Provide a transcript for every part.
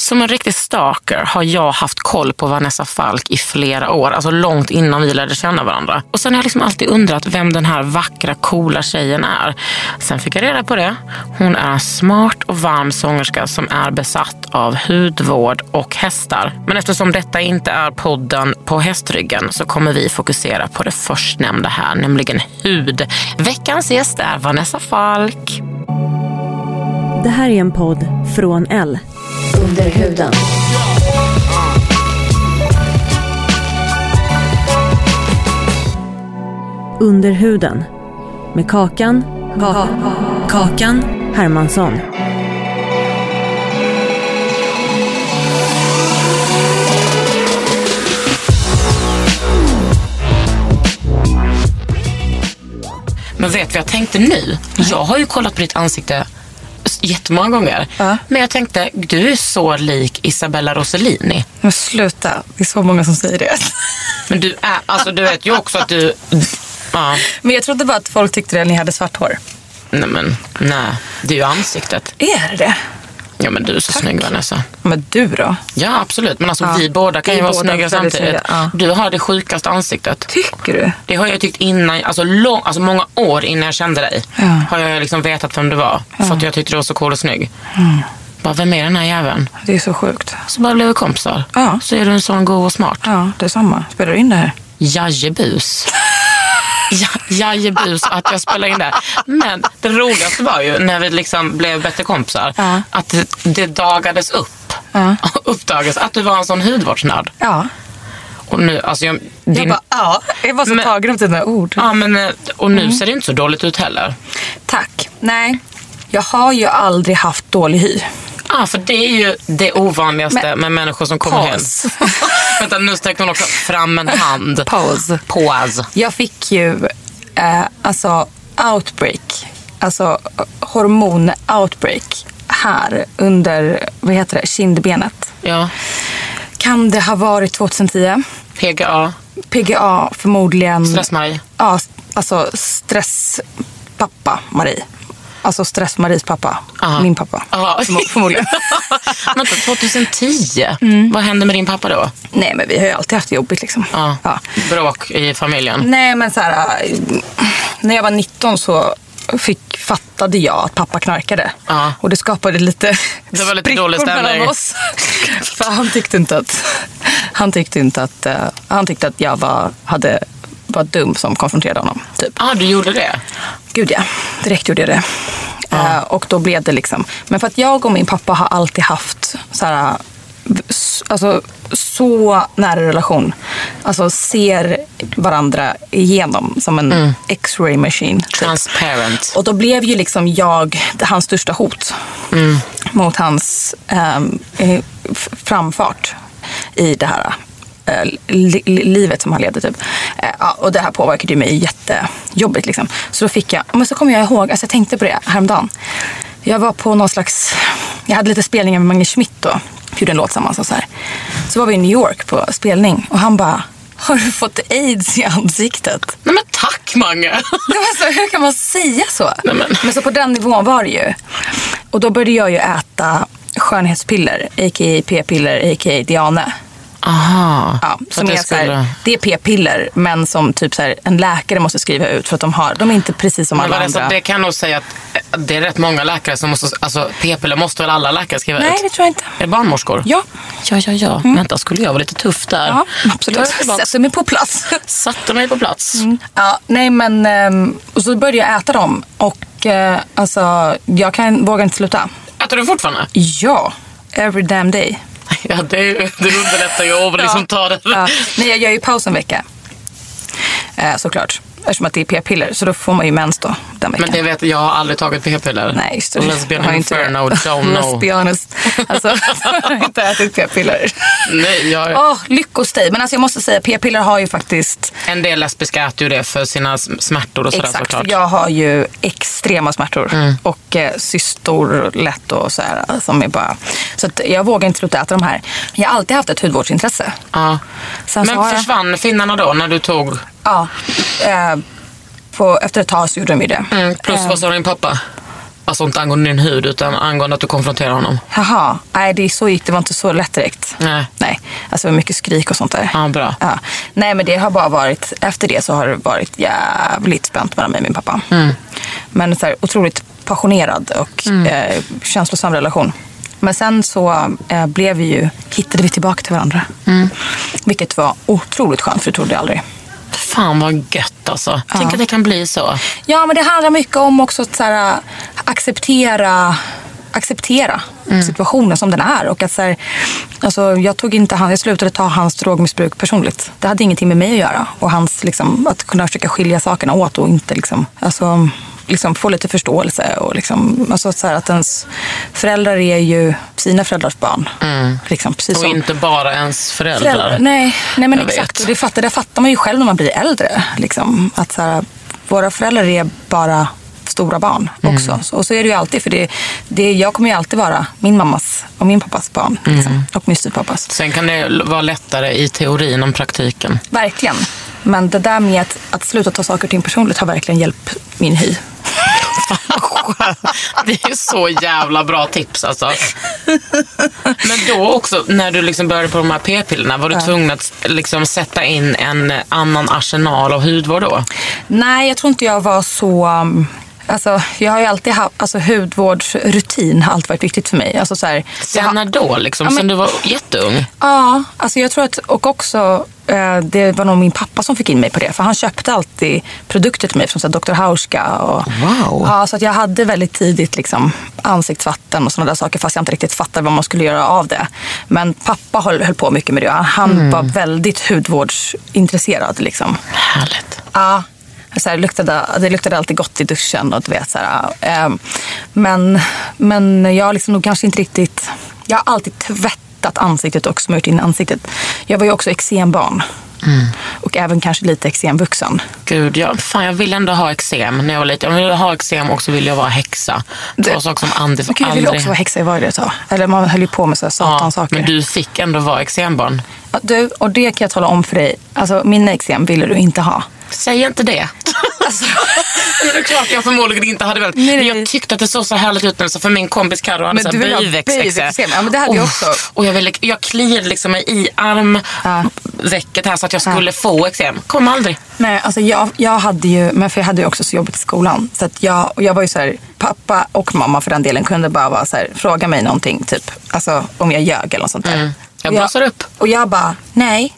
Som en riktig stalker har jag haft koll på Vanessa Falk i flera år, alltså långt innan vi lärde känna varandra. Och sen har jag liksom alltid undrat vem den här vackra, coola tjejen är. Sen fick jag reda på det. Hon är en smart och varm sångerska som är besatt av hudvård och hästar. Men eftersom detta inte är podden på hästryggen så kommer vi fokusera på det förstnämnda här, nämligen hud. Veckans gäst är Vanessa Falk. Det här är en podd från L. Under huden. Under huden. Med Kakan. Ka- kakan Hermansson. Men vet du vad jag tänkte nu? Jag har ju kollat på ditt ansikte s- jättemånga gånger. Men jag tänkte, du är så lik Isabella Rossellini. Men sluta, det är så många som säger det. Men du är, alltså du vet ju också att du... Ja, Men jag trodde bara att folk tyckte det när ni hade svart hår. nej men nej. Det är ju ansiktet. Är det Ja men du är så snygg Vanessa. Men du då? Ja absolut, men alltså Ja. vi båda kan Vi ju vara båda snygga väldigt samtidigt. snygga, ja. Du har det sjukaste ansiktet. Tycker du? Det har jag tyckt innan, alltså, lång, alltså många år innan jag kände dig. Ja. Har jag liksom vetat vem du var. För att jag tyckte du var så cool och snygg. Mm. Bara, vem är den här jäveln? Det är så sjukt. Så bara blev vi kompisar. Ja. Så är du en sån god och smart. Ja, det är samma. Spelar du in det här? Jajebus. Ja, jajebus att jag spelar in det. Men det roligaste var ju när vi liksom blev bättre kompisar. Ja. Att det, det dagades upp. Ja. Uppdagades att du var en sån hudvårdsnörd. Ja. Och nu, alltså jag, din, Jag bara, mm. ja. Jag var så Men- tagen av dina ord. ja, men, eh, och Mm. nu ser det inte så dåligt ut heller. Tack. Nej, jag har ju aldrig haft dålig hy. Ja, för det är ju det ovanligaste Men- med människor som kommer Paus. hem. Vänta, nu sträckte hon också fram en hand. Paus. Pause. Jag fick ju eh, alltså outbreak, alltså hormon-outbreak här under, vad heter det, kindbenet. Ja, Kan det ha varit 2010? PGA, PGA förmodligen. stressmaj. Ja, s- alltså stresspappa Marie. Alltså stress-Maries pappa. Aha. Min pappa. Ja. Förmo- Förmodligen. Mm. Vänta, 2010? Vad hände med din pappa då? Nej men vi har ju alltid haft det jobbigt liksom. Ja. Ja. Bråk i familjen. Nej men så här, äh, när jag var 19 så fick, fattade jag att pappa knarkade. Ja. Och det skapade lite Ah. Det var lite sprickor dålig stämning. mellan oss. För han tyckte inte att, han tyckte inte att, eh, han tyckte att jag var, hade, var dum som konfronterade honom. Typ. Ja, ah, du gjorde det? Gud ja, direkt gjorde jag det. Eh, och då blev det liksom, men för att jag och min pappa har alltid haft så här, v- s- alltså, så nära relation. Alltså ser varandra igenom som en x-ray machine. typ. Transparent. Och då blev ju liksom jag hans största hot mot hans ehm, eh, f- framfart i det här eh, li- li- livet som han levde. Typ. Eh, ja, och det här påverkade ju mig jättejobbigt. Liksom. Så då fick jag, men så kommer jag ihåg, alltså jag tänkte på det häromdagen. Jag var på någon slags, jag hade lite spelningar med Mange Schmidt då. Vi gjorde en låt tillsammans och så här. Så var vi i New York på spelning och han bara, har du fått aids i ansiktet? Nej men tack Mange! Det var så, alltså, hur kan man säga så? Nej, men. så på den nivån var det ju. Och då började jag ju äta skönhetspiller, a.k.a. p-piller, a.k.a. Diane. Ja, Aha. Ja, Så som att är det så här, skulle- det är p-piller, men som typ så här, en läkare måste skriva ut för att de har, de är inte precis som Men alla vad det, andra. så det kan jag nog säga att eh, det är rätt många läkare som måste, alltså p-piller måste väl alla läkare skriva Nej, ut? det tror jag inte. Är det barnmorskor? Ja, Mm. ja, ja. ja. Vänta, skulle jag vara lite tuff där? ja Jag absolut. Alltså, är Mm. tillbaka. Sätter mig på plats. Satte mig på plats. Ja, nej men, ehm, och så började jag äta dem och eh, alltså, jag kan, vågar inte sluta. Äter du fortfarande? Ja, every damn day. Ja, det, är ju- det underlättar ju att liksom ta det. Ja. Nej, jag gör ju paus en vecka. Eh, såklart. Eftersom att det är p-piller, så då får man ju mens då den veckan. Men det vet jag, jag har aldrig tagit p-piller. Nej, just det. Och Lesbian Jag har inte det. Inferno, don't Let's know. be honest. Alltså, jag har inte ätit p-piller. Nej, jag, Åh, lyckosteg. Men alltså, jag måste säga, p-piller har ju faktiskt... En del lesbiska äter ju det för sina sm- smärtor och sådär Exakt, såklart. Mm. för jag har ju extrema smärtor och eh, cystor lätt och så här som är bara... Så att jag vågar inte sluta äta de här. Jag har alltid haft ett hudvårdsintresse. Ja. Sen så Men har jag- försvann finnarna då när du tog? Ja. Eh, på, efter ett tag så gjorde de ju det. mm, Plus vad sa din pappa? Alltså inte angående din hud utan angående att du konfronterar honom. Jaha, nej det är så gick det var inte så lätt direkt. Nej. Nej, alltså det var mycket skrik och sånt där. Ja, bra. Ja. Nej men det har bara varit, efter det så har det varit jävligt spänt mellan mig och min pappa. Mm. Men så här, otroligt passionerad och eh, känslosam relation. Men sen så eh, blev vi ju, hittade vi tillbaka till varandra. Mm. Vilket var otroligt skönt för det trodde jag aldrig. Fan vad gött alltså. Tänk att det kan bli så. Ja, men det handlar mycket om också att så här, acceptera, acceptera situationen som den är. Och att, så här, alltså, jag, tog inte han, jag slutade ta hans drogmissbruk personligt. Det hade ingenting med mig att göra. Och hans, liksom, att kunna försöka skilja sakerna åt och inte liksom, alltså, liksom, få lite förståelse. Och, liksom, alltså, så här, att ens föräldrar är ju sina föräldrars barn. Liksom, precis Och som- inte bara ens föräldrar. Nej, nej men Jag exakt. vet. Och det fattar, det fattar man ju själv när man blir äldre. Liksom. Att så här, våra föräldrar är bara stora barn Mm. också. Så- Och så är det ju alltid. För det, det, jag kommer ju alltid vara min mammas och min pappas barn. Mm. Liksom. Och min styvpappas. Sen kan det l- vara lättare i teorin än praktiken. Verkligen. Men det där med att, att sluta ta saker och ting personligt har verkligen hjälpt min hy. Det är så jävla bra tips alltså. Men då också, när du liksom började på de här p-pillerna, var du tvungen att liksom sätta in en annan arsenal av hudvård då? Nej, jag tror inte jag var så... um, Alltså, jag har ju alltid haft, alltså hudvårdsrutin har alltid varit viktigt för mig. Alltså, så här, jag har- Sen när då liksom? men- Sen du var jätteung? Ja, alltså jag tror att, och också eh, det var nog min pappa som fick in mig på det. För han köpte alltid produkter till mig från så här, Dr. Hauska. Och, Wow. Ja, så att jag hade väldigt tidigt liksom, ansiktsvatten och sådana där saker fast jag inte riktigt fattade vad man skulle göra av det. Men pappa höll, höll på mycket med det. Han var väldigt hudvårdsintresserad. Liksom. Härligt. Ja. Så här, det, luktade, det luktade alltid gott i duschen. Och du vet, så här, ehm, men, men jag har liksom nog kanske inte riktigt... Jag har alltid tvättat ansiktet och smört in ansiktet. Jag var ju också eksembarn. Mm. Och även kanske lite eksemvuxen. Gud, jag, fan, jag ville ändå ha eksem när jag var liten. Jag ville ha eksem och så ville jag vara häxa. Två Det- saker som Anders Och Gud, jag aldrig... ville också vara häxa i varje ett tag. Eller man höll ju på med så här ja, satansaker. Men du fick ändå vara eksembarn. Ja, du, och det kan jag tala om för dig. Alltså, mina eksem ville du inte ha. Säg inte det. Alltså, Men det är klart jag förmodligen inte hade velat. men Nej, nej. jag tyckte att det såg så härligt ut. när- Så för min kompis Carro hade Men så här du vill ha biväxteksem. biväxteksem. Ja, men det hade jag Och- också. Och jag, ville, jag kliade liksom mig i armvecket här så att jag skulle få eksem. Kom aldrig. Nej, alltså jag, jag hade ju, men för jag hade ju också så jobbigt i skolan. Så att jag, och jag var ju så här, pappa och mamma för den delen kunde bara vara så här, fråga mig någonting, typ, alltså om jag ljög eller något sånt där. Mm. Jag Och blossar upp. Och jag bara, nej.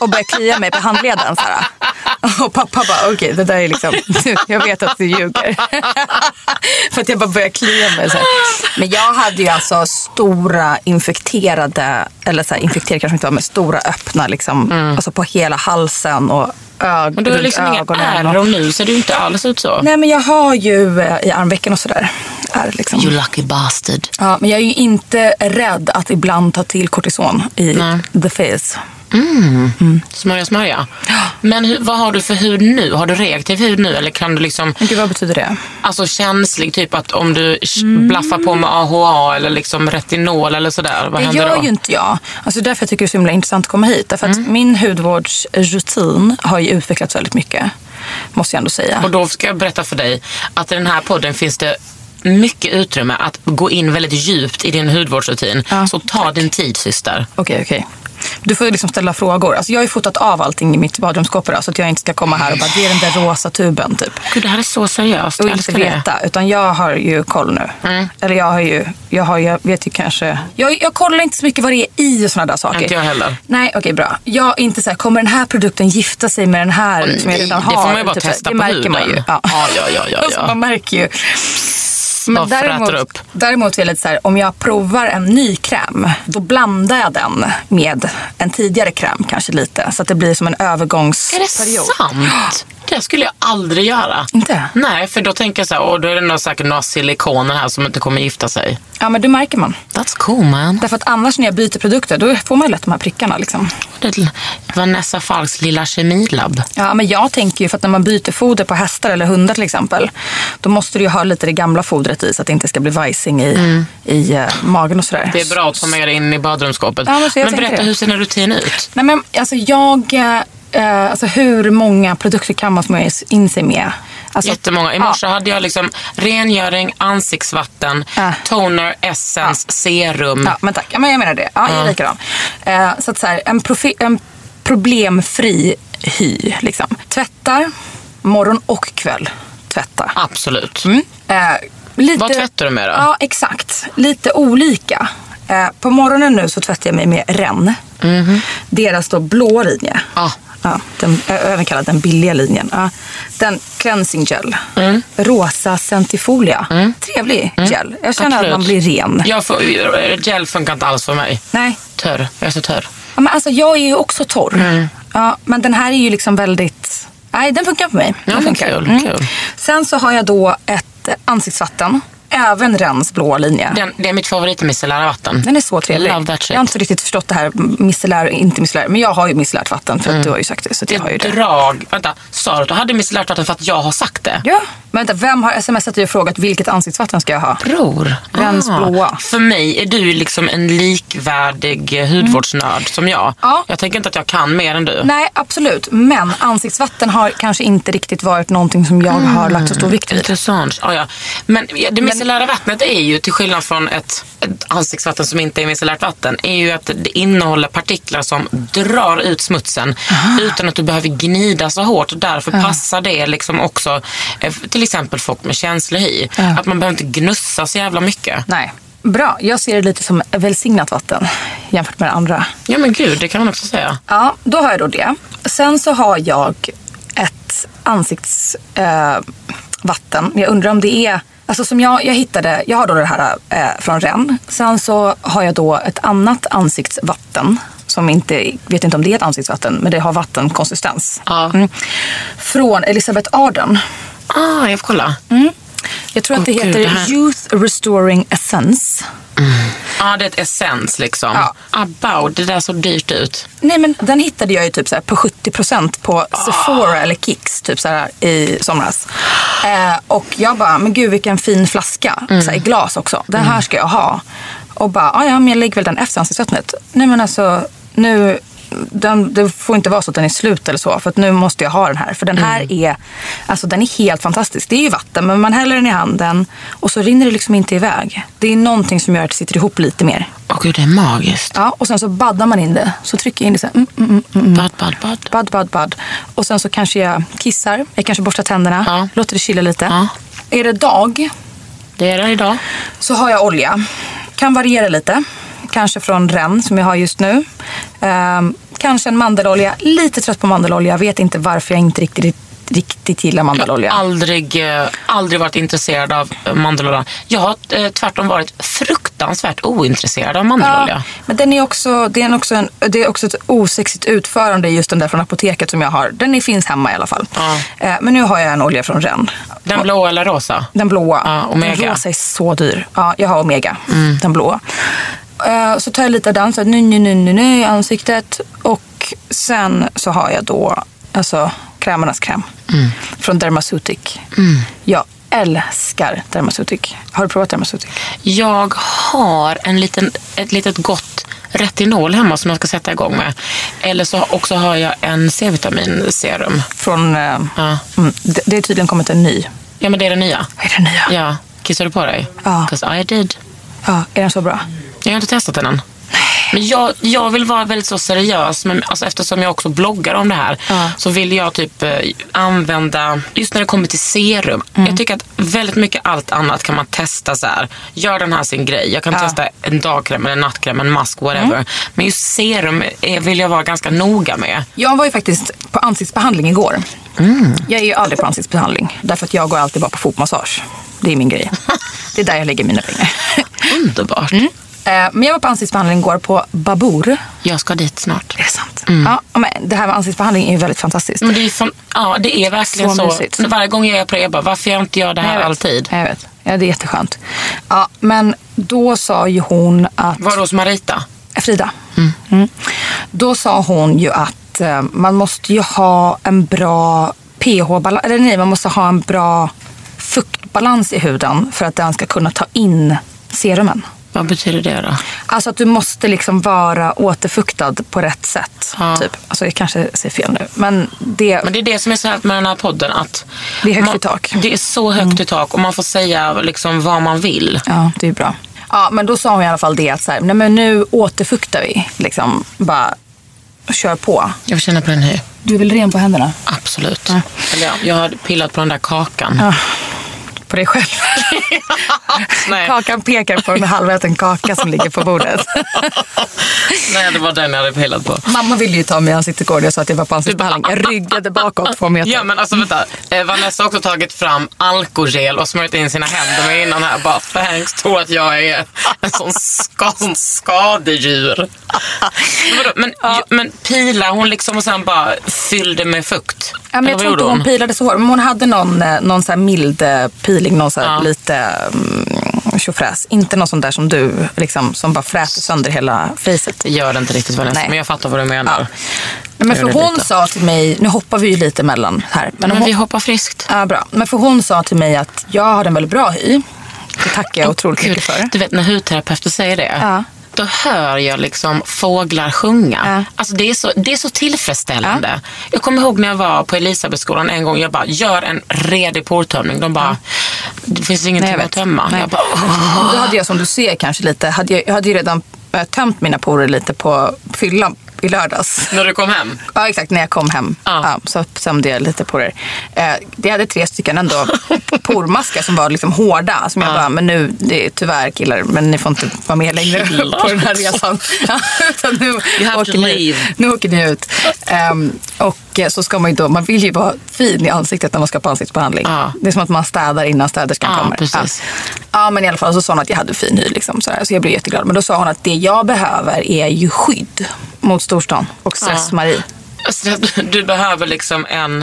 Och började klia mig på handleden så här. Och pappa bara, okej, det där är liksom, jag vet att du ljuger. för att jag bara började klia mig så här. Men jag hade ju alltså stora infekterade, eller så här, infekterade kanske inte var, men stora öppna liksom, Mm. alltså på hela halsen och ög, Men du har runt liksom inga ögonen. ärr och nu ser du inte alls ut så. Nej men jag har ju eh, i armvecken och sådär. Är liksom. You lucky bastard. Ja, men jag är ju inte rädd att ibland ta till kortison i Nej. the face. Smörja, smörja. Men hur, vad har du för hud nu? Har du reaktiv hud nu? Eller kan du liksom, Men Gud, vad betyder det? alltså känslig, typ att om du sh- Mm. blaffar på med AHA eller liksom retinol eller sådär, vad Det händer gör då? ju inte jag. Alltså därför jag tycker det är så himla intressant att komma hit. Därför att Mm. min hudvårdsrutin har ju utvecklats väldigt mycket. Måste jag ändå säga. Och då ska jag berätta för dig att i den här podden finns det mycket utrymme att gå in väldigt djupt i din hudvårdsrutin. Ja, så ta din tid syster. Okej, okej. Du får ju liksom ställa frågor. Alltså jag har ju fotat av allting i mitt badrumsskåp idag, så att jag inte ska komma här och bara, det är den där rosa tuben typ. Gud, det här är så seriöst. Och Jag inte älskar det. Mm. veta, utan jag har ju koll nu. Eller jag har ju, jag, har, jag vet ju kanske. Jag, jag kollar inte så mycket vad det är i och sådana där saker. Inte jag heller. Nej, okej bra. Jag är inte så här, kommer den här produkten gifta sig med den här Åh, som jag nej, redan det har? får man ju bara Typ så här, testa det på märker huden. man ju. Ja, Ja, ja, ja, ja, alltså, ja. man märker ju. bara Men fräter upp. däremot, däremot är jag lite så här, om jag provar en ny kräm, då blandar jag den med en tidigare kräm kanske lite. Så att det blir som en Är det övergångsperiod. sant? Det skulle jag aldrig göra. Inte? Nej, för då tänker jag så här, åh, då är det nog säkert några silikoner här som inte kommer gifta sig. Ja, men det märker man. That's cool man. Därför att annars när jag byter produkter, då får man ju lätt de här prickarna liksom. Det- Vanessa Falks lilla kemilabb. Ja, men jag tänker ju för att när man byter foder på hästar eller hundar till exempel, då måste du ju ha lite det gamla fodret i så att det inte ska bli vajsing i, i eh, magen och sådär. Det är bra att ta med det in i badrumsskåpet. Ja, men så jag men tänker berätta, det. hur ser din rutin ut? Nej, men alltså jag... eh, Eh, alltså hur många produkter kan man smörja in sig med? Alltså, Jättemånga. I ja. morse hade jag liksom rengöring, ansiktsvatten, Äh. toner, essens, serum. Ja, men tack. Ja, men jag menar det. Ja, jag är Mm. likadan. Eh, så att så här, en, profi- en problemfri hy. Liksom. Tvättar morgon och kväll. Tvätta. Absolut. Mm. Eh, lite, Vad tvättar du med då? Ja, exakt. Lite olika. Eh, på morgonen nu så tvättar jag mig med Ren. Mhm. Deras då blå linje. Ja. Ja, den, ö- även kallad den billiga linjen. Ja. Den cleansing gel. Mm. Rosa centifolia. Trevlig gel. Jag känner Absolut. att man blir ren. Jag får, gel funkar inte alls för mig. Nej, Törr. Jag är så törr. Ja, men alltså, jag är ju också torr. Mm. Ja, men den här är ju liksom väldigt... Nej, den funkar på mig. Ja, Den men funkar. Mm. kul, kul. Sen så har jag då ett eh, ansiktsvatten. Även Rens blå linje. Den, det är mitt favorit i micellära vatten. Den är så trevlig. Love that shit. Jag har inte riktigt förstått det här micellär och inte micellär. Men jag har ju micellärt vatten för att du har ju sagt det. Så att Mm. Det jag har är ju ett det. drag. Vänta, sa du att du hade micellärt vatten för att jag har sagt det? Ja. Men vänta, vem har smsat dig och frågat vilket ansiktsvatten ska jag ha? Bror. Rens blåa. Ah. Mm. För mig är du ju liksom en likvärdig eh, hudvårdsnörd som jag. Ja. Jag tänker inte att jag kan mer än du. Nej, absolut. Men ansiktsvatten har kanske inte riktigt varit någonting som jag har lagt så stor vikt Mm. vid. Intressant. Ja, ja. Men ja, det micellära vattnet är ju, till skillnad från ett, ett ansiktsvatten som inte är micellärt vatten, är ju att det innehåller partiklar som drar ut smutsen utan att du behöver gnida så hårt. Därför passar det liksom också eh, till exempel folk med känslig hy. Att man behöver inte gnussa så jävla mycket. Nej. Bra. Jag ser det lite som välsignat vatten jämfört med det andra. Ja men gud, det kan man också säga. Ja, då har jag då det. Sen så har jag ett ansiktsvatten. Eh, vatten. jag undrar om det är... Alltså som jag, jag hittade, jag har då det här eh, från Ren. Sen så har jag då ett annat ansiktsvatten. Som inte, vet inte om det är ett ansiktsvatten, men det har vattenkonsistens. Ja. Mm. Från Elisabeth Arden. Ah, jag får kolla. Mm. Jag tror att Åh, det gud, heter det här- Youth Restoring Essence. Ja, det är ett essens liksom. Ja. About, det där såg dyrt ut. Nej men den hittade jag ju typ så här på 70% på Sephora eller Kicks typ så här i somras. Eh, och jag bara, men gud vilken fin flaska. Så här, I glas också. Den här ska jag ha. Och bara, "Ah, ja men jag lägger väl den efter ansiktsvattnet. Nej men alltså nu, den, det får inte vara så att den är slut eller så. För att nu måste jag ha den här. För den här är, alltså den är helt fantastisk. Det är ju vatten men man häller den i handen och så rinner det liksom inte iväg. Det är någonting som gör att det sitter ihop lite mer. Åh gud, det är magiskt. Ja, och sen så baddar man in det. Så trycker jag in det så här. Mm, mm, mm, mm. Bad, bad, bad. Bad, bad, bad. Och sen så kanske jag kissar. Jag kanske borstar tänderna. Ja. Låter det kyla lite. Ja. Är det dag Det är det idag. så har jag olja. Kan variera lite. Kanske från Ren som jag har just nu. Ehm, kanske en mandelolja. Lite trött på mandelolja. Vet inte varför jag inte riktigt, riktigt gillar mandelolja. aldrig, eh, aldrig varit intresserad av eh, mandelolja. Jag har eh, tvärtom varit fruktansvärt ointresserad av mandelolja. men den är också, det, är en också en, det är också ett osexigt utförande just den där från apoteket som jag har. Den är, finns hemma i alla fall. Ja. Eh, men nu har jag en olja från Ren. Den blå eller rosa? Den blåa. Ja, Omega. Mm. Den rosa är så dyr. Ja, jag har Omega, den blåa. Eh, Så tar jag lite av den, så här, nu, nu, nu, nu, nu i ansiktet. Och sen så har jag då alltså, krämernas kräm Mm. från Dermasutic. Jag älskar Dermasutic. Har du provat Dermasutic? Jag har en liten, ett litet gott retinol hemma som jag ska sätta igång med. Eller så också har jag en C-vitaminserum. Från, eh, Ja. mm, det, det är tydligen kommit en ny. ja, men det är den nya. Vad är den nya? Ja. Kissar du på dig? Ja. 'Cause I did. Ja, är den så bra? Jag har inte testat den än. Men jag, jag vill vara väldigt så seriös, men alltså eftersom jag också bloggar om det här så vill jag typ eh, använda, just när det kommer till serum. Jag tycker att väldigt mycket allt annat kan man testa så här. Gör den här sin grej. Jag kan testa en dagkräm, eller en nattkräm, en mask, whatever. Men just serum eh, vill jag vara ganska noga med. Jag var ju faktiskt på ansiktsbehandling igår. Jag är ju aldrig på ansiktsbehandling. Därför att jag går alltid bara på fotmassage. Det är min grej. Det är där jag lägger mina pengar. Underbart. Eh, Men jag var på ansiktsbehandling igår på Babur. Jag ska dit snart. Det är sant. Mm. Ja, men det här med ansiktsbehandling är ju väldigt fantastiskt. Men det, är fan, ja, det är verkligen Så så. mysigt. Varje gång jag gör på det, jag bara, varför gör inte jag det Nej, här jag vet. alltid? Jag vet. Ja, det är jätteskönt. Ja, men då sa ju hon att... Var hos Marita? Frida. Mm. Då sa hon ju att eh, man måste ju ha en bra pH-balans, eller nej, man måste ha en bra fuktbalans i huden för att den ska kunna ta in serumen. Vad betyder det då? Alltså att du måste liksom vara återfuktad på rätt sätt. Ja. Typ. Alltså jag kanske säger fel nu, men det... Men det är det som är så här med den här podden. Att Det är högt man, i tak. Mm. Det är så högt i tak och man får säga liksom vad man vill. Ja, det är bra. Ja, men då sa hon i alla fall det att så här, nej, men nu återfuktar vi. Liksom, bara kör på. Jag vill känna på den nu. Du är väl ren på händerna? Absolut. Eller ja, jag har pillat på den där kakan. På dig själv. Nej. Kakan pekar på en halvätten kaka som ligger på bordet. Nej, det var den jag hade pillat på. Mamma ville ju ta mig i ansiktet igår när jag sa att jag var på ansiktsbehandling. Jag ryggade bakåt två meter. Ja men alltså vänta, eh, Vanessa har också tagit fram alkogel och smörjt in sina händer med innan här. Bara thanks, tror att jag är en sån, ska, sån skadedjur. Men, vadå, men, men pilar hon liksom och sen bara fyllde med fukt? Ja, men Eller jag vad tror inte gjorde hon pilade så hårt, men hon hade någon, eh, någon så här mild eh, peeling, någon så här Ja. lite mm, tjofräs. Inte någon sån där som du, liksom, som bara fräter sönder hela facet. Det gör det inte riktigt Vanessa, Nej. men jag fattar vad du menar. Ja. Men för Gjorde hon lite. sa till mig, nu hoppar vi ju lite mellan här. Men, Men hon, vi hoppar friskt. ja, bra. men för hon sa till mig att jag har en väldigt bra hy. Det tackar jag otroligt mycket för. Du vet när hudterapeuter säger det. Ja. Då hör jag liksom fåglar sjunga. Ja. Alltså det, är så, det är så tillfredsställande. Jag kommer ihåg när jag var på Elisabethskolan en gång. Jag bara, gör en redig portömning. De bara, det finns ingenting Nej, jag att vet. tömma. Nej. Jag bara, "Åh." Och Då hade jag som du ser kanske lite, hade jag, jag hade ju redan eh, tömt mina porer lite på fyllan i lördags. När du kom hem. Ja exakt, när jag kom hem Ja. ja, så tömde jag lite porer. Eh, jag hade tre stycken ändå pormaskar som var liksom hårda. Som jag bara, men nu, det är, tyvärr killar, men ni får inte vara med längre Killar? på den här resan. Ja, Utan nu, You have to åker ni, leave. nu åker ni ut. Ehm, och eh, så ska man ju då, man vill ju vara fin i ansiktet när man ska på ansiktsbehandling. Ja. Det är som att man städar innan städerskan Ja, kommer. precis. Ja. ja, men i alla fall så sa hon att jag hade fin hy. Liksom, sådär. Så jag blev jätteglad. Men då sa hon att det jag behöver är ju skydd mot storstan och stress, Ja. Marie. Alltså, du- du behöver liksom en...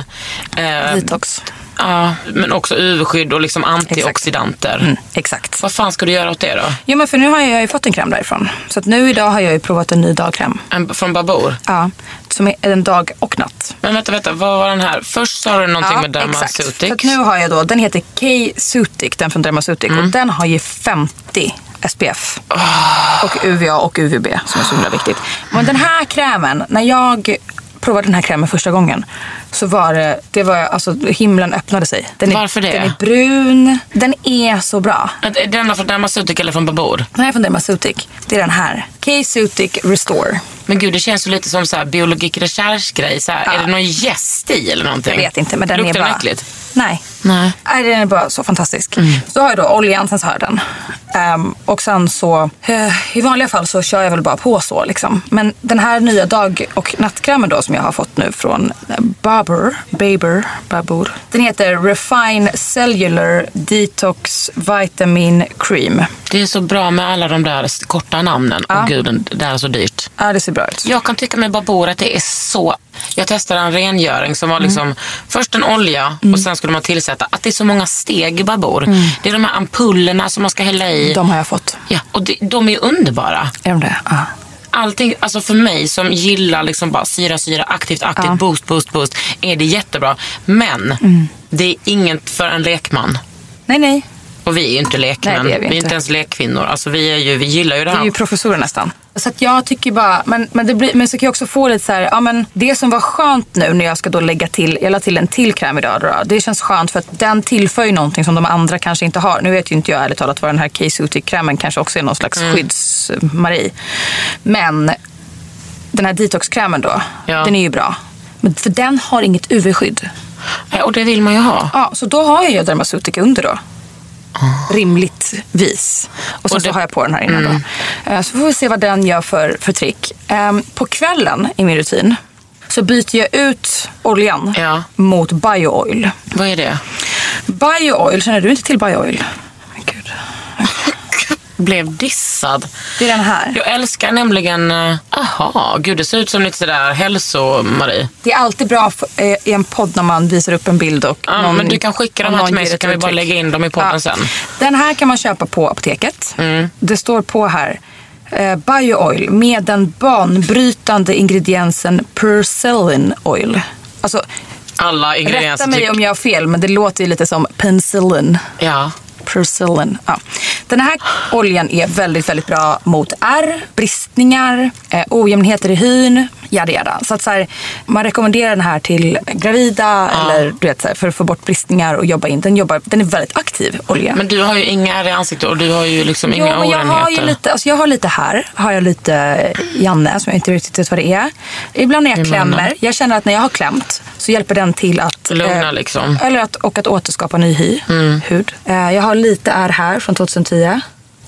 Eh, Detox. ja, men också UV-skydd och liksom antioxidanter. Mm, exakt. Vad fan ska du göra åt det då? Jo men för nu har jag ju fått en kräm därifrån. Så att nu idag har jag ju provat en ny dagkräm. En, från Babor? Ja, som är en dag och natt. Men vänta, vänta, vad var den här? Först sa du någonting ja, med För att Dermaceutics. nu har jag då, den heter K-Sutic, den från Dermaceutics. Mm. Och den har ju 50 SPF. Ah. Och UVA och UVB som är så himla viktigt. Men den här krämen, när jag provade den här krämen första gången så var det, det var alltså himlen öppnade sig. Den är, Varför det? Den är brun, den är så bra. Vänta, Är den från Dermaceutics eller från Babor? Den här från Dermaceutics, det är den här. K-Sutic Restore. Men gud, det känns ju lite som så här biologik recherche-grej. Så här. Ja. Är det någon gäst i eller någonting? Jag vet inte men den Luktar är bara... den äckligt? Nej. Nej. Nej, den är bara så fantastisk. Mm. Så har jag då oljan, sen så har jag den. Ehm, och sen så, eh, i vanliga fall så kör jag väl bara på så liksom. Men den här nya dag och nattkrämen då som jag har fått nu från eh, Babur, Baber, Babur. Den heter Refine Cellular Detox Vitamin Cream. Det är så bra med alla de där s- korta namnen. Åh gud, den- det här är så dyrt. Ja, det ser bra ut. Jag kan tycka med Babor att det är så... Jag testade en rengöring som var Mm. liksom först en olja och sen skulle man tillsätta. Att det är så många steg i Babor. Det är de här ampullerna som man ska hälla i. Mm. De har jag fått. Ja, och de, de är ju underbara. Är de det? Ja. Allting, alltså för mig som gillar liksom bara syra, syra, aktivt, aktivt, boost, boost, boost, är det jättebra. Men Mm. det är inget för en lekman. Nej, nej. Och vi är ju inte lekmän. Nej, det är vi vi är inte. inte ens lekkvinnor. Alltså vi, är ju, vi gillar ju det Det här. är ju professorer nästan. Så att jag tycker bara, men, men, det blir, men så kan jag också få lite så här, ja men det som var skönt nu när jag ska då lägga till, jag la till en till kräm idag då, det känns skönt för att den tillför ju någonting som de andra kanske inte har. Nu vet ju inte jag ärligt talat vad den här K-Sutic-krämen kanske också är någon slags skyddsmarie. Men den här detoxkrämen då, Ja. den är ju bra. Men för den har inget UV-skydd. Ja, Och det vill man ju ha. Ja, så då har jag ju Dermasutic under då. Rimligtvis. Och sen Ah. Och det- Mm. så har jag på den här innan då. Eh, Så får vi se vad den gör för, för trick. Ehm, På kvällen i min rutin så byter jag ut oljan Ja. mot biooil. Vad är det? Biooil, känner du inte till biooil? Men gud. Blev dissad. Det är den här. Jag älskar nämligen... eh, Aha, gud det ser ut som lite sådär hälso-Marie. Det är alltid bra för, eh, i en podd när man visar upp en bild och Ja, men du kan skicka dem och här till någon mig ger så ett kan vi bara uttryck. lägga in dem i podden sen. Mm. Den här kan man köpa på apoteket. Det står på här. Eh, Biooil med den banbrytande ingrediensen Percellin oil. Alltså, Alla ingredienser. typ. rätta mig tyck- om jag har fel, men det låter ju lite som penicillin. Ja. Percillin. Ja. Den här oljan är väldigt, väldigt bra mot ärr, bristningar, eh, ojämnheter i hyn, jada jada. Så att så här, man rekommenderar den här till gravida eller du vet, så här, för att få bort bristningar och jobba in. Den, jobbar, den är väldigt aktiv olja. Men du har ju inga ärr i ansiktet och du har ju liksom Jo, inga men jag har ju orenheter. lite, alltså jag har lite här, har jag lite eh, Janne som jag inte riktigt vet vad det är. Ibland när jag I munnen. klämmer, jag känner att när jag har klämt så hjälper den till att eh, Lugna liksom. Mm. Eller att, och att återskapa ny hy, hud. Eh, jag har lite är här från 2010.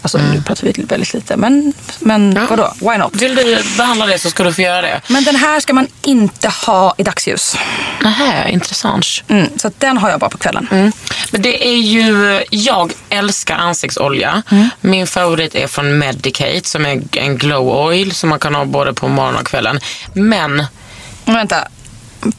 Alltså nu pratar vi väldigt lite, men, men Mm. Ja. vadå, why not? Vill du behandla det så ska du få göra det. Men den här ska man inte ha i dagsljus. Nähä, intressant. Mm, så att den har jag bara på kvällen. Mm. Men det är ju, jag älskar ansiktsolja. Mm. Min favorit är från Medicate som är en glow oil som man kan ha både på morgonen och kvällen. Men Men vänta,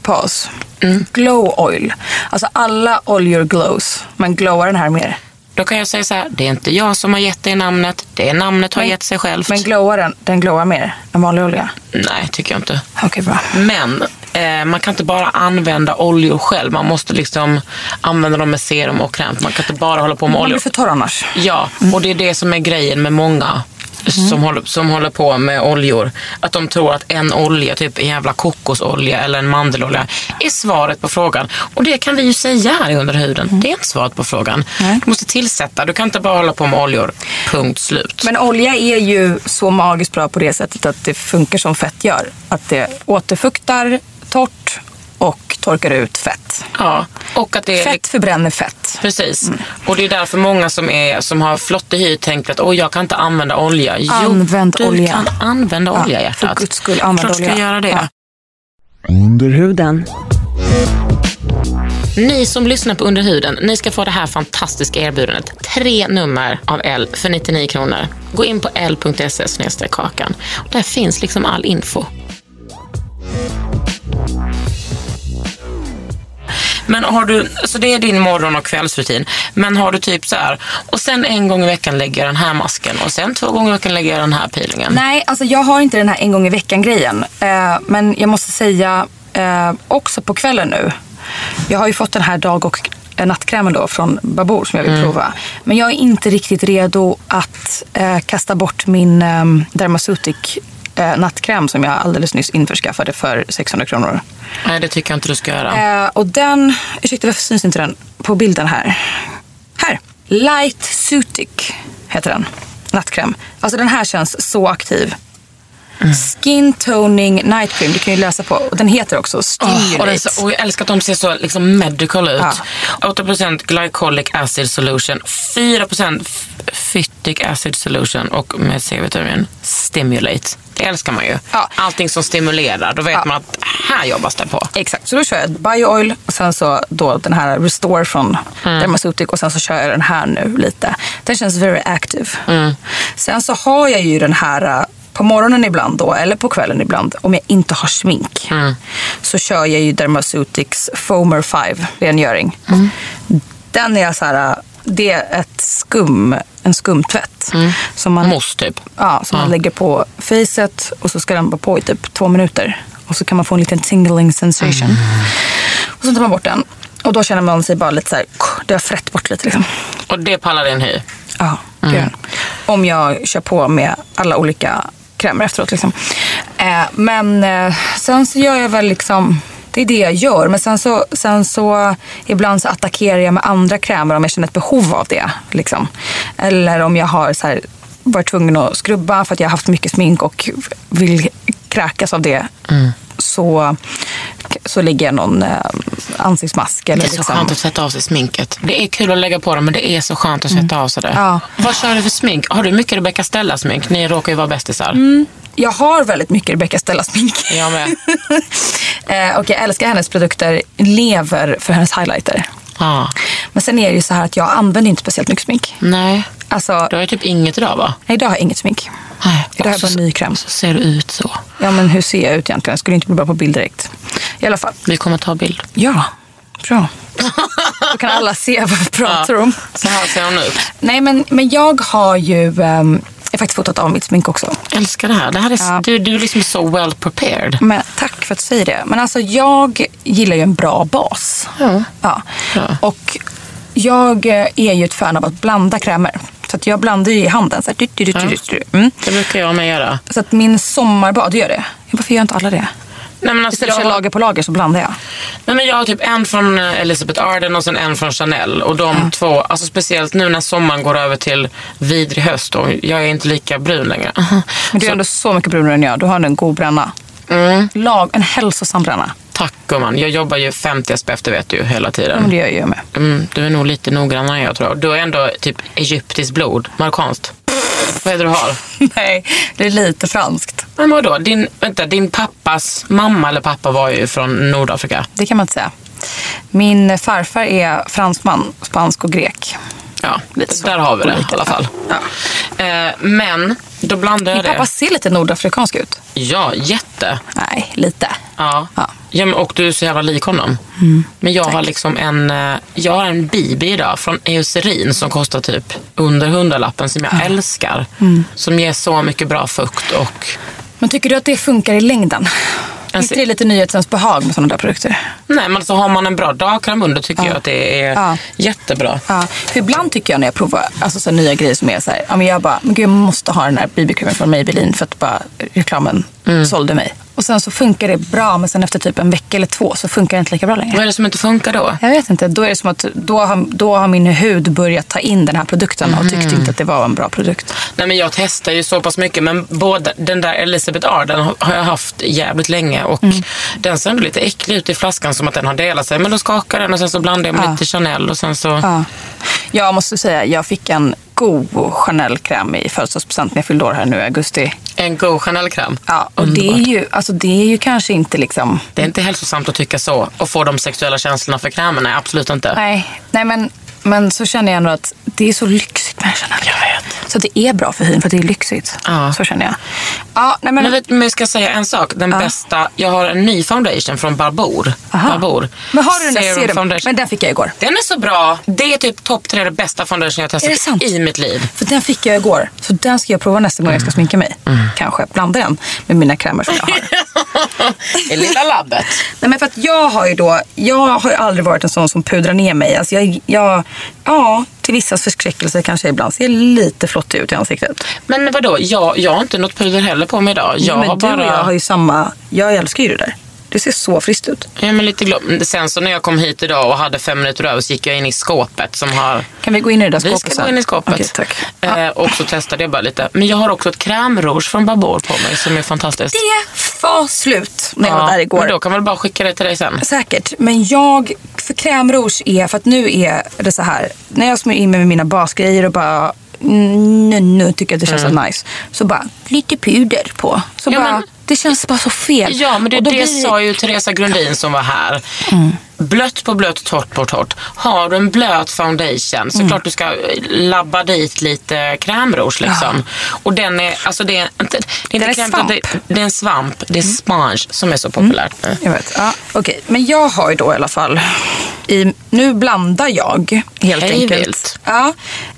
paus. Mm. Glow oil. Alltså alla oljor glows, men glowar den här mer? då kan jag säga så här, det är inte jag som har gett dig namnet, det är namnet har Men- gett sig självt. Men glowar den, den glowar mer än vanlig olja? Nej, tycker jag inte. Okej, bra. Men eh, man kan inte bara använda oljor själv. Man måste liksom använda dem med serum och kräm. Man kan inte bara hålla på med Man oljor. blir för torr annars. Ja, och det är det som är grejen med många Mm. som, håller, som håller på med oljor. Att de tror att en olja, typ en jävla kokosolja eller en mandelolja, är svaret på frågan. Och det kan vi ju säga här i under huden. Det är inte svaret på frågan. Mm. Nej. Du måste tillsätta. Du kan inte bara hålla på med oljor. Punkt slut. Men olja är ju så magiskt bra på det sättet att det funkar som fett gör. Att det återfuktar torrt och torkar ut fett. ja, och att det är Fett Mm. förbränner fett. Precis. Och det är därför många som, är, som har flottig hy tänker att Åh, jag kan inte använda olja. Använd jo, du olja. kan använda Ja, olja för hjärtat. guds skull, använd Klart du ska olja. göra det. Ja. Under huden. Ni som lyssnar på Under huden, ni ska få det här fantastiska erbjudandet. Tre nummer av L för 99 kronor. Gå in på l.se E snedstreck kakan. Där finns liksom all info. Men har du, så det är din morgon och kvällsrutin. Men har du typ så här, och sen en gång i veckan lägger jag den här masken och sen två gånger i veckan lägger jag den här peelingen. Nej, alltså jag har inte den här en gång i veckan-grejen. Eh, men jag måste säga eh, också på kvällen nu. Jag har ju fått den här dag och eh, nattkrämen då från Babor som jag vill prova. Men jag är inte riktigt redo att eh, kasta bort min eh, Dermasutic eh, nattkräm som jag alldeles nyss införskaffade för 600 kronor. Nej, det tycker jag inte du ska göra. Eh, och den, ursäkta varför syns inte den på bilden här? Här! Light Sutic heter den. Nattkräm. Alltså den här känns så aktiv. Mm. Skin Toning Night Cream, du kan ju läsa på. Och den heter också Åh, Ah, och, den, Stimulate. så- och jag älskar att de ser så liksom medical ut. Ja. 8% glycolic acid solution, 4% f- phytic acid solution och med C-vitamin stimulate. Det älskar man ju. Ja. Allting som stimulerar, då vet Ja. man att här jobbas det på. Exakt, så då kör jag Biooil och sen så då den här Restore från Dermasutic och sen så kör jag den här nu lite. Den känns very active. Sen så har jag ju den här eh, på morgonen ibland då, eller på kvällen ibland, om jag inte har smink. Så kör jag ju Dermacutics Foamer 5 rengöring. Den är så här, eh, det är ett skum, en skumtvätt. Som man Mousse typ. Ja, som man lägger på facet och så ska den vara på i typ två minuter. Och så kan man få en liten tingling sensation. Och så tar man bort den. Och då känner man sig bara lite så här, "Kuh, det har frätt bort lite liksom. Och det pallar din hy. Ja, Mm. det gör den. Om jag kör på med alla olika krämer efteråt liksom. Eh, men eh, sen så gör jag väl liksom, det är det jag gör. Men sen så, sen så ibland så attackerar jag med andra krämer om jag känner ett behov av det. Liksom. Eller om jag har så här varit tvungen att skrubba för att jag har haft mycket smink och vill kräkas av det. Mm. Så, så lägger jag någon eh, ansiktsmask. Eller Det är så liksom. skönt att sätta av sig sminket. Det är kul att lägga på det, men det är så skönt att sätta av sig det. Mm. Ja. Vad kör du för smink? Har du mycket Rebecca Stella-smink? Ni råkar ju vara bästisar. Mm. Jag har väldigt mycket Rebecca Stella-smink. Jag med. Eh, och jag älskar hennes produkter, lever för hennes highlighter. Ja. Men sen är det ju så här att jag använder inte speciellt mycket smink. Nej, Alltså, du har ju typ inget idag va? nej, idag har jag inget smink. Nej. Idag har Och jag bara så- en ny kräm. Så ser du ut så. Ja, men hur ser jag ut egentligen? Jag skulle inte bli bra på bild direkt. I alla fall. Vi kommer ta bild. Ja, bra. Då kan alla se vad vi pratar om. Så här ser hon ut. Nej, men, men jag har ju... ehm, jag har faktiskt fotat av mitt smink också. Älskar det här. Det här är, Ja. du, du är liksom så well prepared. Men tack för att du säger det. Men alltså jag gillar ju en bra bas. Ja. Ja. Ja. Och jag eh, är ju ett fan av att blanda krämer. Så att jag blandar ju i handen. Så, här, du, du, du, du, du, du. Mm. Det brukar jag med göra. så att min sommarbad gör det. Varför gör inte alla det? Nej, men alltså, Istället jag, för har, lager på lager så blandar jag. nej, men jag har typ en från eh, Elizabeth Arden och sen en från Chanel. Och de två, alltså speciellt nu när sommaren går över till vidrig höst och jag är inte lika brun längre. Men du är ändå så mycket brunare än jag. Du har en god bränna. Mm, Lag, en hälsosam bränna. tack gumman. Jag jobbar ju 50 SPF, det vet du ju hela Ja, men tiden. det gör jag ju med. Mm, du är nog lite noggrannare än jag tror. Du har ändå typ egyptiskt blod, marockanskt. Vad är det du har? Nej, det är lite franskt. Men vadå? Din, vänta, din pappas mamma eller pappa var ju från Nordafrika. Det kan man inte säga. Min farfar är fransman, spansk och grek. Ja, Lite så. där har vi det i Olika. alla fall. Eh, men då blandar Min jag pappa det. ser lite nordafrikansk ut. Ja, jätte. Nej, lite. Ja. Ja. Mm. Ja, men, och du är så jävla lik honom. Men jag har liksom en, eh, jag har en bibi idag från Eucerin som kostar typ under hundralappen som jag älskar. Mm. Som ger så mycket bra fukt och Men tycker du att det funkar i längden? Är inte det lite nyhetens behag med sådana där produkter? Nej men alltså har man en bra dagkräm under tycker jag att det är Ja. jättebra. Ja, för ibland tycker jag när jag provar alltså, så här nya grejer som är så här, ja, men jag bara, men gud, jag måste ha den här BB-cremen från Maybelline för att bara reklamen sålde mig. Mm. Och sen så funkar det bra, men sen efter typ en vecka eller två så funkar det inte lika bra längre. Vad är det som inte funkar då? Jag vet inte, då är det som att då har, då har min hud börjat ta in den här produkten och tyckte inte att det var en bra produkt. Nej men jag testar ju så pass mycket men båda, den där Elizabeth Arden har har jag haft jävligt länge och Mm. den ser ändå lite äcklig ut i flaskan som att den har delat sig. Men då skakar den och sen så blandar jag med Ja. lite Chanel och sen så... Ja. Jag måste säga, jag fick en god Chanel-kräm i födelsedagspresent när jag fyllde år här nu i augusti. En god Chanel-kräm. Ja, och det är, ju, alltså det är ju kanske inte liksom... Det är inte hälsosamt att tycka så och få de sexuella känslorna för krämen. Nej, absolut inte. Nej, nej men, men så känner jag ändå att det är så lyxigt med Chanel. Jag vet. Så att det är bra för hyn, för att det är lyxigt. Ja. Så känner jag. Ja, nej men, Men vet, men jag ska säga en sak. Den bästa, jag har en ny foundation från Barbour. Aha. Barbour. men har du den där Serum serum? foundation. Men den fick jag igår. Den är så bra. Det är typ topp tre det bästa foundation jag har Är det sant? testat i mitt liv. För den fick jag igår. Så den ska jag prova nästa gång jag Mm. ska sminka mig. Kanske blanda den med mina krämer som jag har. I lilla labbet. Nej, men för att jag har ju då, jag har ju aldrig varit en sån som pudrar ner mig. Alltså jag, jag, ja, till vissas förskräckelse kanske jag ibland ser lite flottig ut i ansiktet. Men vadå, jag, jag har inte något puder heller på mig idag. Jag men har du bara... och jag har ju samma, jag älskar ju det där. Du ser så friskt ut. Ja, men lite glöm. Men Sen så när jag kom hit idag och hade fem minuter över så gick jag in i skåpet som har... Kan vi gå in i det där Vi skåpet ska sen? gå in i skåpet. Okej, tack. Eh, och så testade jag bara lite. Men jag har också ett krämrouge från Barbour på mig som är fantastiskt. Det var slut när jag var där igår. Men då kan man väl bara skicka det till dig sen. Säkert, men jag, för crème rouge är, för att nu är det så här, när jag smörjer in mig med mina basgrejer och bara mm, nu, nu tycker jag att det känns så nice. Så bara, lite puder på. Så Ja, bara, men- det känns bara så fel. Ja, men det, Och då det blir- Mm. sa ju Teresa Grundin som var här. Blött på blött, torrt på torrt. Har du en blöt foundation så Mm. klart du ska eh, labba dit lite krämrouge liksom. Och den är, alltså det är inte, det är Den inte är krämt, utan det, svamp. Mm. det är en svamp. Det är sponge som är så populärt nu. Jag vet, ja, okej. Men jag har ju då i alla fall, i, nu blandar jag helt Hej enkelt. vilt. Ja,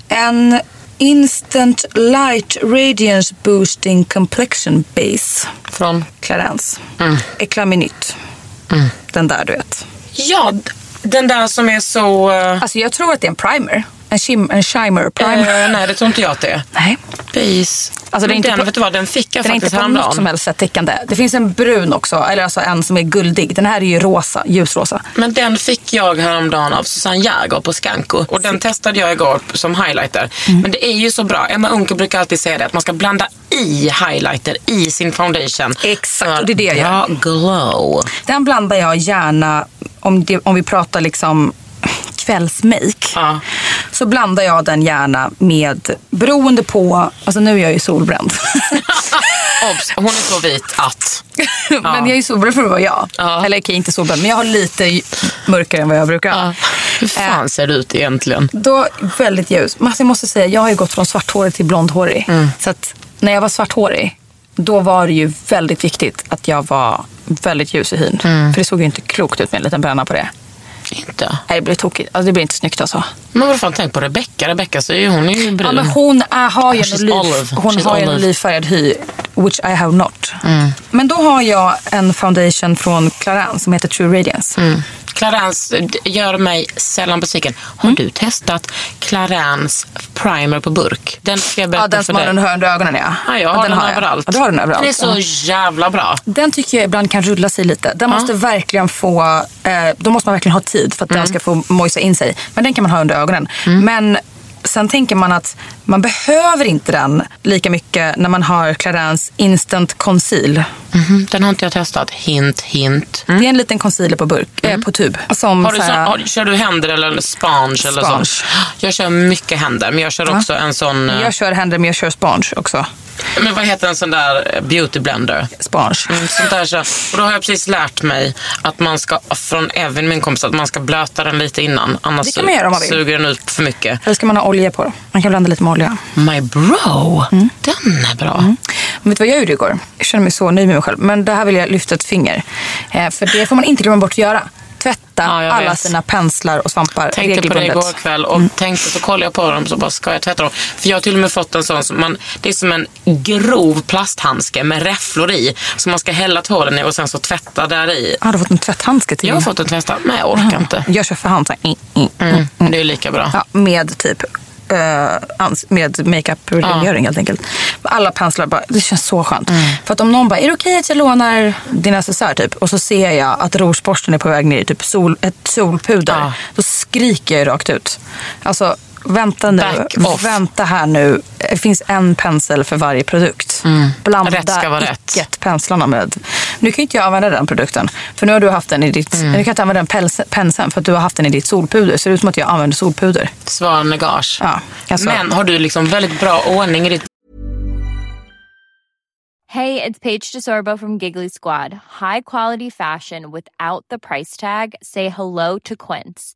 en Instant Light Radiance Boosting Complexion Base. Från? Clarence. Mm. Eclaminut. Den där du vet. Ja, d- den där som är så... eh, Alltså jag tror att det är en primer. En, shim, en shimmer primer. eh, nej, det tror inte jag att det är. Nej. Base Alltså, Men det är inte den, på, vet du vad, den fick jag den är inte faktiskt på häromdagen. något som helst sätt tickande. Det finns en brun också, eller alltså en som är guldig. Den här är ju rosa, ljusrosa. Men den fick jag häromdagen av Susanne Jäger på Skanko och den testade jag igår som highlighter. Mm. Men det är ju så bra. Emma Unke brukar alltid säga det att man ska blanda i highlighter i sin foundation. Exakt, För och det är det jag bra gör. glow. Den blandar jag gärna, om, det, om vi pratar liksom kvällsmake, Ja. så blandar jag den gärna med, beroende på, alltså nu är jag ju solbränd. Obs, hon är så vit att. men jag är ju solbränd för att vara jag. Ja. Eller okej, inte solbränd, men jag har lite ju- mörkare än vad jag brukar ha. Hur Äh. fan ser det ut egentligen? Då, väldigt ljus. Men alltså, jag måste säga, jag har ju gått från svarthårig till blondhårig. Mm. Så att när jag var svarthårig, då var det ju väldigt viktigt att jag var väldigt ljus i hyn. Mm. För det såg ju inte klokt ut med en liten bränna på det. Inte. Nej, det blir tokigt. Alltså, det blir inte snyggt alltså. Men vad fan, tänk på Rebecca. Rebecca så är ju, hon är ju brun. Ja, men hon är, har ju en, She's oliv, olive. hon She's har ju en olive. Mm. olivfärgad hy, which I have not. Men då har jag en foundation från Clarins som heter True Radiance. Mm, Clarins eh, d- gör mig sällan besviken. Har Mm. du testat Clarins primer på burk? Den ska jag berätta Ja, den för som har dig. den under ögonen ja. Ja, jag har den, jag. överallt. Ja, du har den överallt. Den är så Ja. jävla bra. Den tycker jag ibland kan rulla sig lite. Den måste verkligen få, eh, då måste man verkligen ha tid för att Mm. den ska få mojsa in sig. Men den kan man ha under ögonen. Men sen tänker man att man behöver inte den lika mycket när man har Clarins Instant Conceal. Mhm, Den har inte jag testat. Hint, hint. Det är en liten concealer på burk, eh, på tub. Som Har du Mm, så så, här- har, kör du händer eller sponge? Eller Sponge. sånt? Jag kör mycket händer, men jag kör också en sån... eh, jag kör händer men jag kör sponge också. Men vad heter en sån där eh, beauty blender? Sponge. Mm, Sånt där, så. Och då har jag precis lärt mig att man ska, från Evin, min kompis, att man ska blöta den lite innan. Annars Det kan man göra om man vill. suger den ut för mycket. Eller ska man ha olja på då? Man kan blanda lite med olja. My bro, Mm. den är bra. Men vet du vad jag gjorde igår? Jag känner mig så nöjd med mig själv. Men det här vill jag lyfta ett finger. Eh, för det får man inte glömma bort att göra. Tvätta Ja, jag alla vet. sina penslar och svampar tänkte på det regelbundet. Mm. igår kväll och tänkte så kollade jag på dem så bara ska jag tvätta dem? För jag har till och med fått en sån som man, det är som en grov plasthandske med räfflor i som man ska hälla tvålen i och sen så tvätta där i. Har du fått en tvätthandske till Jag har min? fått en tvättad men jag orkar inte. Jag kör för hand så här, mm, mm, Mm, det är lika bra. ja, Med typ eh, ans- med makeup-rengöring helt enkelt. Alla penslar bara, det känns så skönt. Mm. För att om någon bara, är det okej att jag lånar din necessär typ? Och så ser jag att rougeborsten är på väg ner i typ sol, ett solpuder. Ja. Då skriker jag ju rakt ut. Alltså, vänta nu. Back off. Vänta här nu. Det finns en pensel för varje produkt. Mm. Blanda Rätt ska vara rätt. icke penslarna med. Nu kan ju inte jag använda den produkten. För nu har du haft den i Mm. ditt... Du kan inte använda den pels- penseln för att du har haft den i ditt solpuder. Så det är som att jag använder solpuder. Svara negage. Ja, alltså. Men har du liksom väldigt bra ordning i ditt Hey, it's Paige DeSorbo from Giggly Squad. High quality fashion without the price tag. Say hello to Quince.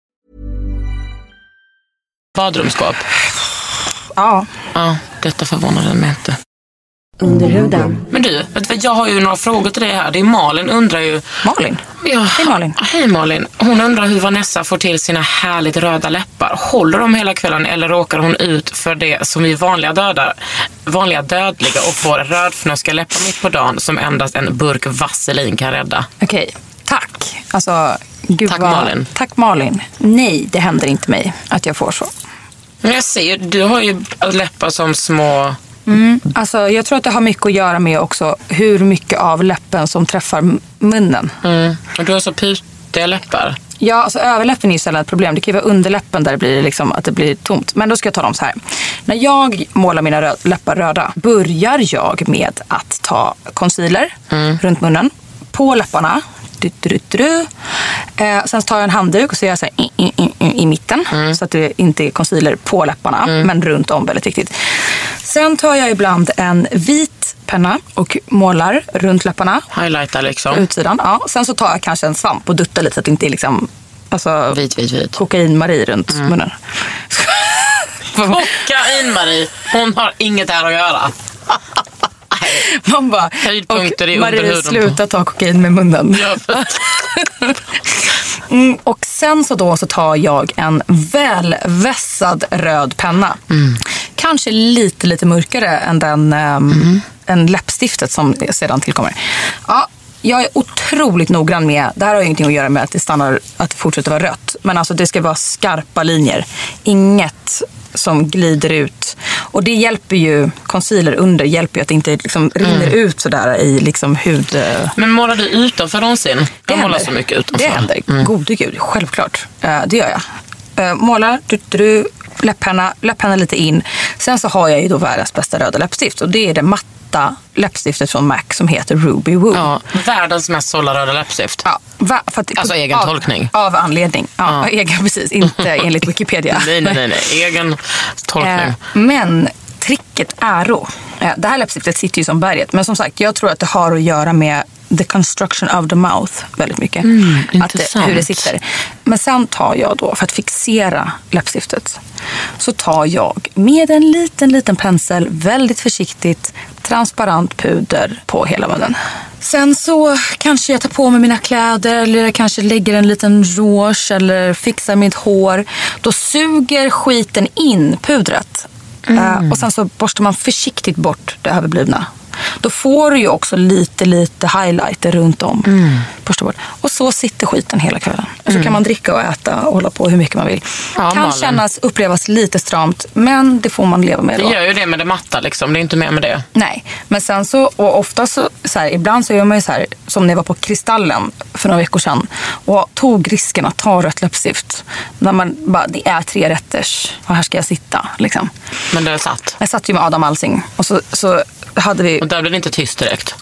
badrumsskåp? Ja. Ja, detta förvånade mig inte. Under huden. Men du, vet du, vad, jag har ju några frågor till dig här. Det är Malin undrar ju Malin. Ja. Hej, Malin. Hej Malin. Hon undrar hur Vanessa får till sina härligt röda läppar. Håller de hela kvällen eller råkar hon ut för det som vi vanliga dödar, vanliga dödliga och får rödfnöskiga läppar mitt på dagen som endast en burk vaselin kan rädda? Okej, tack. Alltså, gud Tack, vad... Malin. Tack Malin. Nej, det händer inte mig att jag får så. Men jag ser ju, du har ju läppar som små... Alltså, jag tror att det har mycket att göra med också hur mycket av läppen som träffar m- munnen. Mm. Och du har så putiga läppar. Ja, alltså överläppen är ju sällan ett problem. Det kan ju vara underläppen där det blir liksom att det blir tomt. Men då ska jag ta dem så här. När jag målar mina rö- läppar röda börjar jag med att ta concealer runt munnen, på läpparna. Du, du, du, du. Eh, sen så tar jag en handduk och så gör jag så här i, i, i, i mitten så att det inte är concealer på läpparna men runt om väldigt viktigt. Sen tar jag ibland en vit penna och målar runt läpparna Highlighta liksom. utsidan. Ja. Sen så tar jag kanske en svamp och duttar lite så att det inte är liksom, alltså, Vit, Mm. vit, vit. kokain-Marie runt munnen. Kokain-Marie, hon har inget här att göra. Man bara, Höjdpunkter är under Marie huden på." sluta ta kokain med munnen. Ja, för- Mm, och sen så då så tar jag en välvässad röd penna. Kanske lite, lite mörkare än den ehm, än läppstiftet som sedan tillkommer. Ja, jag är otroligt noggrann med, det här har ju ingenting att göra med att det stannar, att det fortsätter vara rött. Men alltså det ska vara skarpa linjer. Inget som glider ut. Och det hjälper ju, concealer under hjälper ju att det inte liksom rinner ut sådär i liksom hud... eh, Men målar du utanför någonsin? Jag målar händer. så mycket utanför. Mm. Det händer. Gode gud, självklart. Eh, det gör jag. Eh, målar, du, du, läpparna, läpparna lite in. Sen så har jag ju då världens bästa röda läppstift och det är det matta läppstiftet från MAC som heter Ruby Woo. Ja, världens mest sålda röda läppstift. Ja, va, för att, Alltså egen av, tolkning. Av anledning. Ja, Egen, precis. Inte enligt Wikipedia. Nej, nej, nej, nej. Egen Eh, tolkning. men tricket är då. Eh, det här läppstiftet sitter ju som berget. Men som sagt, jag tror att det har att göra med the construction of the mouth väldigt mycket. att det, intressant. hur det sitter. Men sen tar jag då, för att fixera läppstiftet, så tar jag med en liten, liten pensel, väldigt försiktigt, transparent puder på hela munnen. Sen så kanske jag tar på mig mina kläder eller jag kanske lägger en liten rouge eller fixar mitt hår. Då suger skiten in pudret. Mm. Eh, och sen så borstar man försiktigt bort det överblivna. Då får du ju också lite, lite highlighter runt om. Mm. Borsta bort. Och så sitter skiten hela kvällen. Och så kan man dricka och äta och hålla på hur mycket man vill. Ja, kan Malin. kännas, upplevas lite stramt, men det får man leva med Det då. gör ju det med det matta liksom. Det är inte mer med det. Nej, men sen så, och ofta så, så här, ibland så gör man ju så här, som när jag var på Kristallen för några veckor sedan och tog risken att ta rött läppstift. När man bara, det är tre rätters och här ska jag sitta. Liksom. Men det satt. Jag satt ju med Adam Alsing och så, så hade vi Och där blev det inte tyst direkt.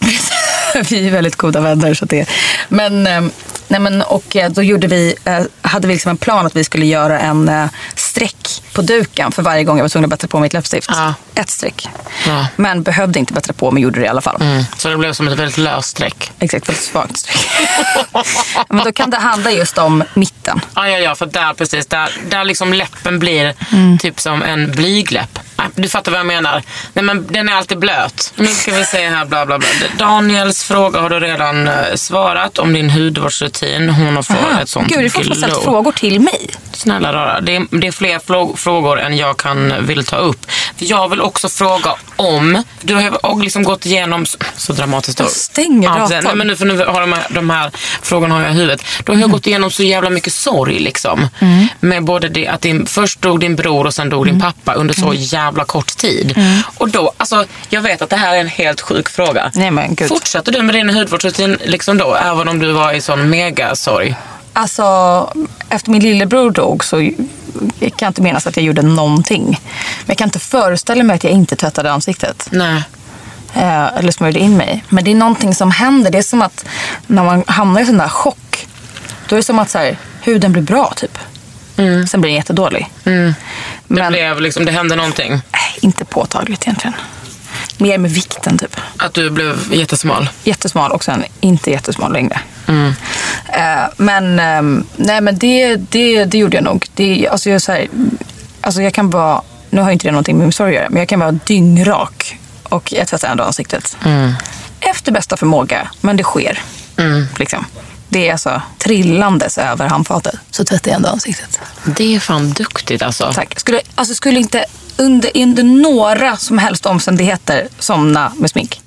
vi är väldigt goda vänner. Så det. Men, eh, nej men, och eh, då gjorde vi, eh, hade vi liksom en plan att vi skulle göra en eh, streck på duken för varje gång jag var tvungen att bättra på mitt läppstift. Ja. Ett streck. Ja. Men behövde inte bättra på, men gjorde det i alla fall. Mm. Så det blev som ett väldigt löst streck. Exakt, väldigt svagt streck. men då kan det handla just om mitten. Ja, ja, ja, för där precis. Där, där liksom läppen blir Mm. typ som en blygläpp. Ah, Du fattar vad jag menar. Nej, men den är alltid blöt. Nu ska vi se här, bla bla bla. Daniels fråga har du redan eh, svarat om din hudvårdsrutin. Hon har fått ett sånt Gud, du får glow. fortfarande ställt frågor till mig. Snälla rara, det är, det är fler flå- frågor än jag kan vill ta upp. För jag vill också fråga om, du har ju och liksom gått igenom, så- så dramatiskt då. Jag stänger ja, datorn. precis. Nej, men nu, för nu har de här, de här frågorna har jag i huvudet. Du Mm. har ju gått igenom så jävla mycket sorg liksom. Med både det att din, först dog din bror och sen dog Mm. din pappa under så jävla kort tid. Och då, alltså jag vet att det här är en helt sjuk fråga. Nej, men gud. Fortsatte du med din hudvårdsrutin liksom då, även om du var i sån mega sorg? Alltså, efter min lillebror dog så jag kan inte minnas att jag gjorde någonting. Men jag kan inte föreställa mig att jag inte tvättade ansiktet. Nej. Eh, eller smörjde in mig. Men det är någonting som händer. Det är som att när man hamnar i sån där chock. Då är det som att så här, huden blir bra typ. Sen blir den jättedålig. Det, Men blev, liksom, det hände någonting. eh, inte påtagligt egentligen. Mer med vikten typ. Att du blev jättesmal. jättesmal och sen inte jättesmal längre. Eh, men ehm, nej, men det, det, det gjorde jag nog. Det, alltså, jag, är så här, alltså, jag kan vara, nu har ju inte det någonting med min sorg att göra, men jag kan vara dyngrak och jag tvättar ändå ansiktet. Efter bästa förmåga, men det sker. Liksom. Det är alltså trillandes över handfatet, så tvättar jag ändå ansiktet. Det är fan duktigt alltså. Tack. Skulle, alltså, skulle inte under, under några som helst omständigheter somna med smink.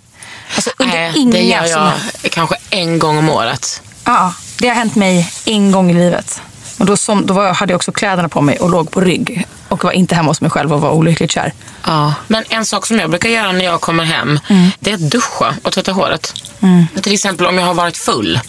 Alltså under Nej, inga det gör som jag helst. kanske en gång om året. Ja, det har hänt mig en gång i livet. Och då, som, då var, jag- hade jag också kläderna på mig och låg på rygg. Och var inte hemma hos mig själv och var olyckligt kär. Ja. Mm. Men en sak som jag brukar göra när jag kommer Mm. hem, det är att duscha och tvätta håret. Till exempel om jag har varit full.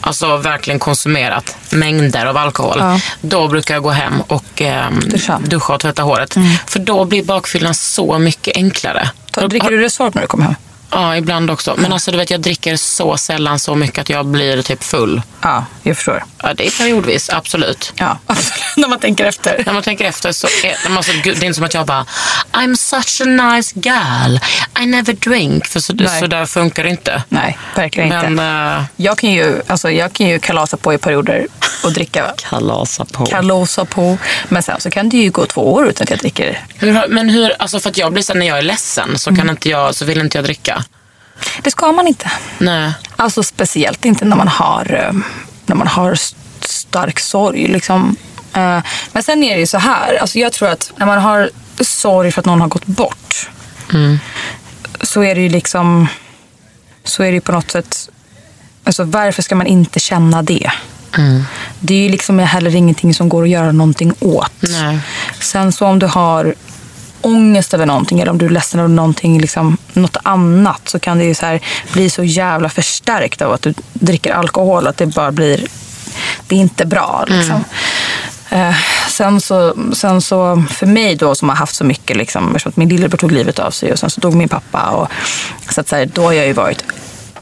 alltså verkligen konsumerat mängder av alkohol, Ja. då brukar jag gå hem och ehm, Duscha. duscha Mm. och tvätta håret. För då blir bakfyllan så mycket enklare. Ta, dricker du Resorb när du kommer hem? Ja, ibland också. Men alltså du vet, jag dricker så sällan så mycket att jag blir typ full. Ja, jag förstår. Ja, det är periodvis, absolut. Ja, när man tänker efter. När man tänker efter så är när man så, gud, det är inte som att jag bara I'm such a nice girl, I never drink. För så, Nej. så där funkar det inte. Nej, verkligen inte. Men eh, Jag kan, ju, alltså, jag kan ju kalasa på i perioder och dricka. kalasa på. Kalasa på. Men sen så kan det ju gå två år utan att jag dricker. hur, har- men hur, alltså för att jag blir så här, när jag är ledsen så, Mm. kan inte jag, så vill inte jag dricka. Det ska man inte. Nej. Alltså speciellt inte när man har, eh, när man har st- stark sorg. Liksom. Eh, Men sen är det ju så här. Alltså jag tror att när man har sorg för att någon har gått bort. Så är det ju liksom. Så är det ju på något sätt. Alltså varför ska man inte känna det? Det är ju liksom heller ingenting som går att göra någonting åt. Nej. Sen så om du har ångest över någonting eller om du är ledsen över någonting, liksom, något annat så kan det ju så här bli så jävla förstärkt av att du dricker alkohol att det bara blir, det är inte bra. Liksom. Eh, sen, så, sen så, för mig då som har haft så mycket, liksom, eftersom att min lillebror tog livet av sig och sen så dog min pappa. Och, så att så här, då har jag ju varit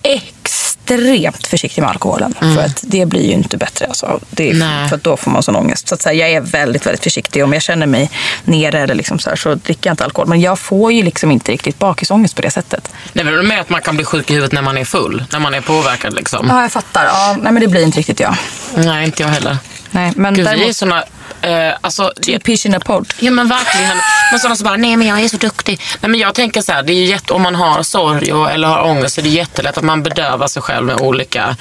extremt försiktig med alkoholen. För att det blir ju inte bättre. Alltså. Det är, Nej. för att då får man sån ångest. Så att säga, jag är väldigt, väldigt försiktig. Om jag känner mig nere eller liksom så, här, så dricker jag inte alkohol. Men jag får ju liksom inte riktigt bakisångest på det sättet. Nej, men med att man kan bli sjuk i huvudet när man är full, när man är påverkad liksom. Ja, jag fattar. Ja, nej, men det blir inte riktigt jag. Nej, inte jag heller. Nej, men Gud, vi är däremot, såna, eh, alltså, det, pitch in a pod. Ja men verkligen. Men sådana som bara, nej men jag är så duktig. Nej men jag tänker så här, det är ju jätte, om man har sorg och, eller har ångest så är det jättelätt att man bedövar sig själv med olika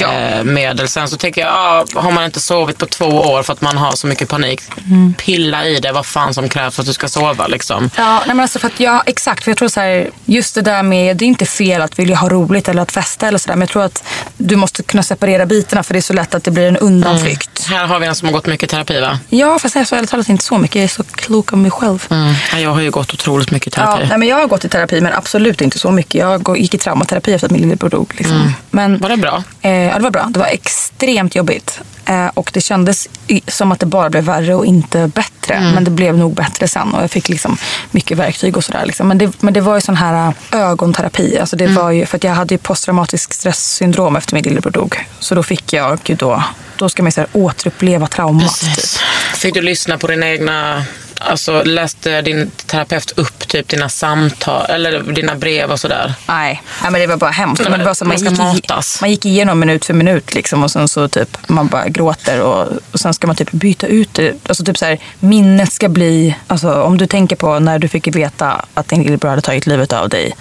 eh, medel. Sen så tänker jag, ah, har man inte sovit på två år för att man har så mycket panik, Mm. pilla i det vad fan som krävs för att du ska sova liksom. Ja, nej men alltså för att jag, exakt. För jag tror så här, just det där med, det är inte fel att vilja ha roligt eller att festa eller sådär. Men jag tror att du måste kunna separera bitarna för det är så lätt att det blir en undanflykt. Här har vi en som har gått mycket terapi va? Mm. Ja, fast jag är så ärligt talat inte så mycket. Jag är så klok om mig själv. Ja, Jag har ju gått otroligt mycket Mm. Ja, terapi. nej, men jag har gått i terapi, men absolut inte så mycket. Jag gå- gick i traumaterapi efter att min lillebror dog. Liksom. Men, Var det bra? Eh, ja, det var bra. Det var extremt jobbigt. Eh, och det kändes i- som att det bara blev värre och inte bättre. Men det blev nog bättre sen och jag fick liksom mycket verktyg och sådär. Liksom. Men, det, men det var ju sån här eh, ögonterapi. Alltså det var ju, för att jag hade ju posttraumatisk stresssyndrom efter min lillebror dog. Så då fick jag ju då, då ska man ju så här, återuppleva traumat. Precis. Fick du lyssna på dina egna, alltså läste din terapeut upp typ dina samtal eller dina brev och sådär? Nej, nej men det var bara hemskt. Nej, men det var så att man ska man, gick i, matas. man gick igenom minut för minut liksom, och sen så typ man bara gråter och, och sen ska man typ byta ut det. Alltså typ så här, minnet ska bli, alltså om du tänker på när du fick veta att din lillebror hade tagit livet av dig.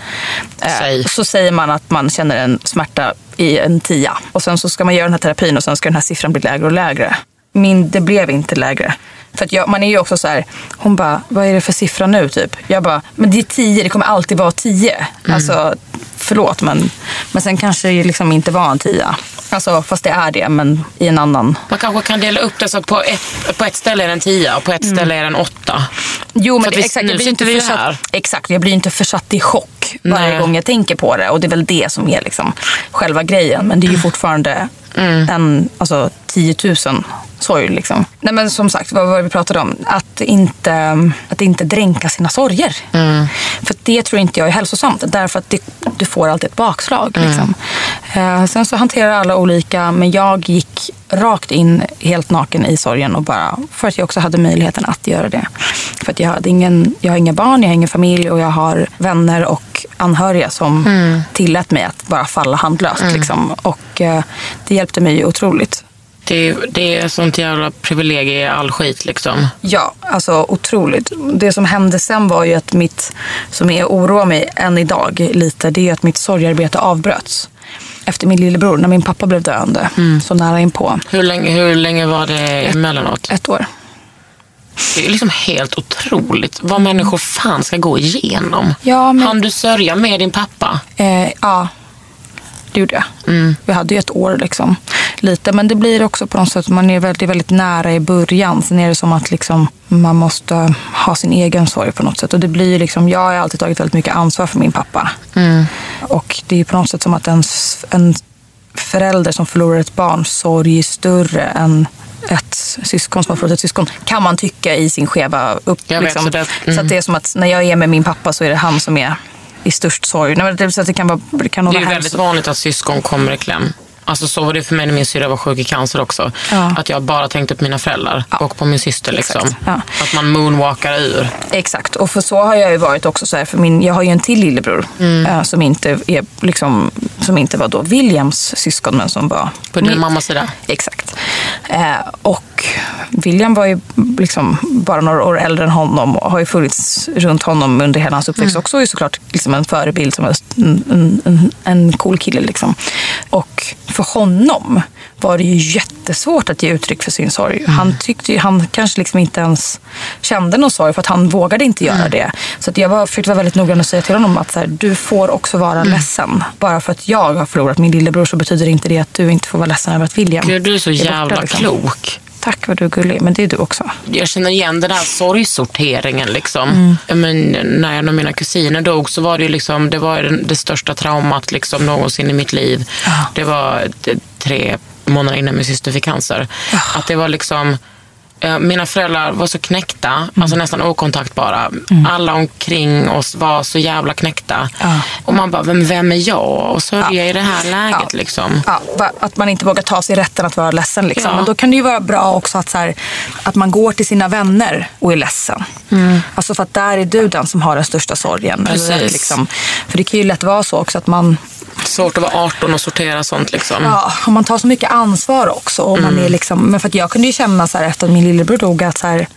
eh, Säg. så säger man att man känner en smärta i en tia och sen så ska man göra den här terapin och sen ska den här siffran bli lägre och lägre. Min, det blev inte lägre. För att jag, man är ju också så här, hon bara, vad är det för siffra nu typ? Jag bara, men det är tio, det kommer alltid vara tio. Alltså, förlåt men, men sen kanske det liksom inte var en tia. Alltså, fast det är det, men i en annan. Man kanske kan dela upp det så att på ett, på ett ställe är den 10 och på Mm. ett ställe är den 8. Jo, men Så att det, vi- exakt, nu jag blir sitter inte vi ju försatt, här. Exakt, jag blir inte försatt i chock varje Nej. gång jag tänker på det. Och det är väl det som är liksom själva grejen. Men det är ju fortfarande Mm. en, alltså, 10 000 sorg. Liksom. Nej, men som sagt, vad var det vi pratade om? Att inte, att inte dränka sina sorger. Mm. För det tror inte jag är hälsosamt. Därför att det, du får alltid ett bakslag. Mm. Liksom. Eh, sen så hanterar alla olika, men jag gick rakt in helt naken i sorgen och bara för att jag också hade möjligheten att göra det. För att jag, hade ingen, jag har inga barn, jag har ingen familj och jag har vänner och anhöriga som tillät mig att bara falla handlöst. Liksom. Och eh, det hjälpte mig ju otroligt. Det är, det är sånt jävla privilegium i all skit liksom. Ja, alltså otroligt. Det som hände sen var ju att mitt, som är oroar mig än idag lite, det är att mitt sorgarbete avbröts. Efter min lillebror, när min pappa blev döende, så nära inpå. Hur länge, hur länge var det emellanåt? Ett år. Det är liksom helt otroligt vad människor fan ska gå igenom. Ja, men- Hann du sörja med din pappa? Eh, ja, det gjorde jag. Mm. Vi hade ju ett år liksom. Lite, men det blir också på något sätt, man är väldigt, väldigt nära i början. Sen är det som att liksom, man måste ha sin egen sorg på något sätt. Och det blir ju liksom, jag har alltid Mm. tagit väldigt mycket ansvar för min pappa. Och det är ju på något sätt som att en, s- en förälder som förlorar ett barns sorg är större än ett syskon som har förlorat ett syskon, kan man tycka i sin skeva upp. Jag vet, liksom. så det- mm. så att det är som att när jag är med min pappa så är det han som är i störst sorg. Nej, men det, så att det kan vara, det kan nog Det är ju vara väldigt hemskt. vanligt att syskon kommer i kläm. Alltså så var det för mig när min syrra var sjuk i cancer också. Ja. Att jag bara tänkte på mina föräldrar och på min syster. Exakt. Liksom. Ja. Att man moonwalkar ur. Exakt, och för så har jag ju varit också. Så här, för min, jag har ju en till lillebror Mm. eh, som, inte är, liksom, som inte var då Williams syskon, men som var På din mitt. mammas sida? Exakt. Eh, och William var ju liksom bara några år äldre än honom och har ju funnits runt honom under hela hans uppväxt också och är såklart liksom en förebild som en, en, en, en cool kille. Liksom. Och för honom var det ju jättesvårt att ge uttryck för sin sorg. Han, tyckte ju, han kanske liksom inte ens kände någon sorg för att han vågade inte göra det. Så att jag var, försökte vara väldigt noggrann och säga till honom att så här, du får också vara ledsen. Bara för att jag har förlorat min lillebror så betyder det inte det att du inte får vara ledsen över att William Gud, du är så borta, jävla liksom. klok. Tack vad du är gullig, men det är du också. jag känner igen den här sorgsorteringen. Liksom. Mm. Ja, Men när en av mina kusiner dog så var det ju liksom, det, var ju den- det största traumat liksom, någonsin i mitt liv. Det var eh, tre månader innan min syster fick cancer. Att det var liksom, eh, mina föräldrar var så knäckta, Mm. alltså nästan okontaktbara. Alla omkring oss var så jävla knäckta. Och man bara, vem, vem är jag och sörja i det här läget? Ja. Liksom. Ja, va- att man inte vågar ta sig rätten att vara ledsen. Liksom. Ja. Men då kan det ju vara bra också att, så här, att man går till sina vänner och är ledsen. Alltså för att där är du den som har den största sorgen. eller Mm. Precis. Mm. att liksom, för det kan ju lätt vara så också att man, Svårt att vara 18 och sortera sånt. Liksom. ja, om man tar så mycket ansvar också. Och Mm. man är liksom, men för att jag kunde ju känna så här, efter att min lillebror dog att så här,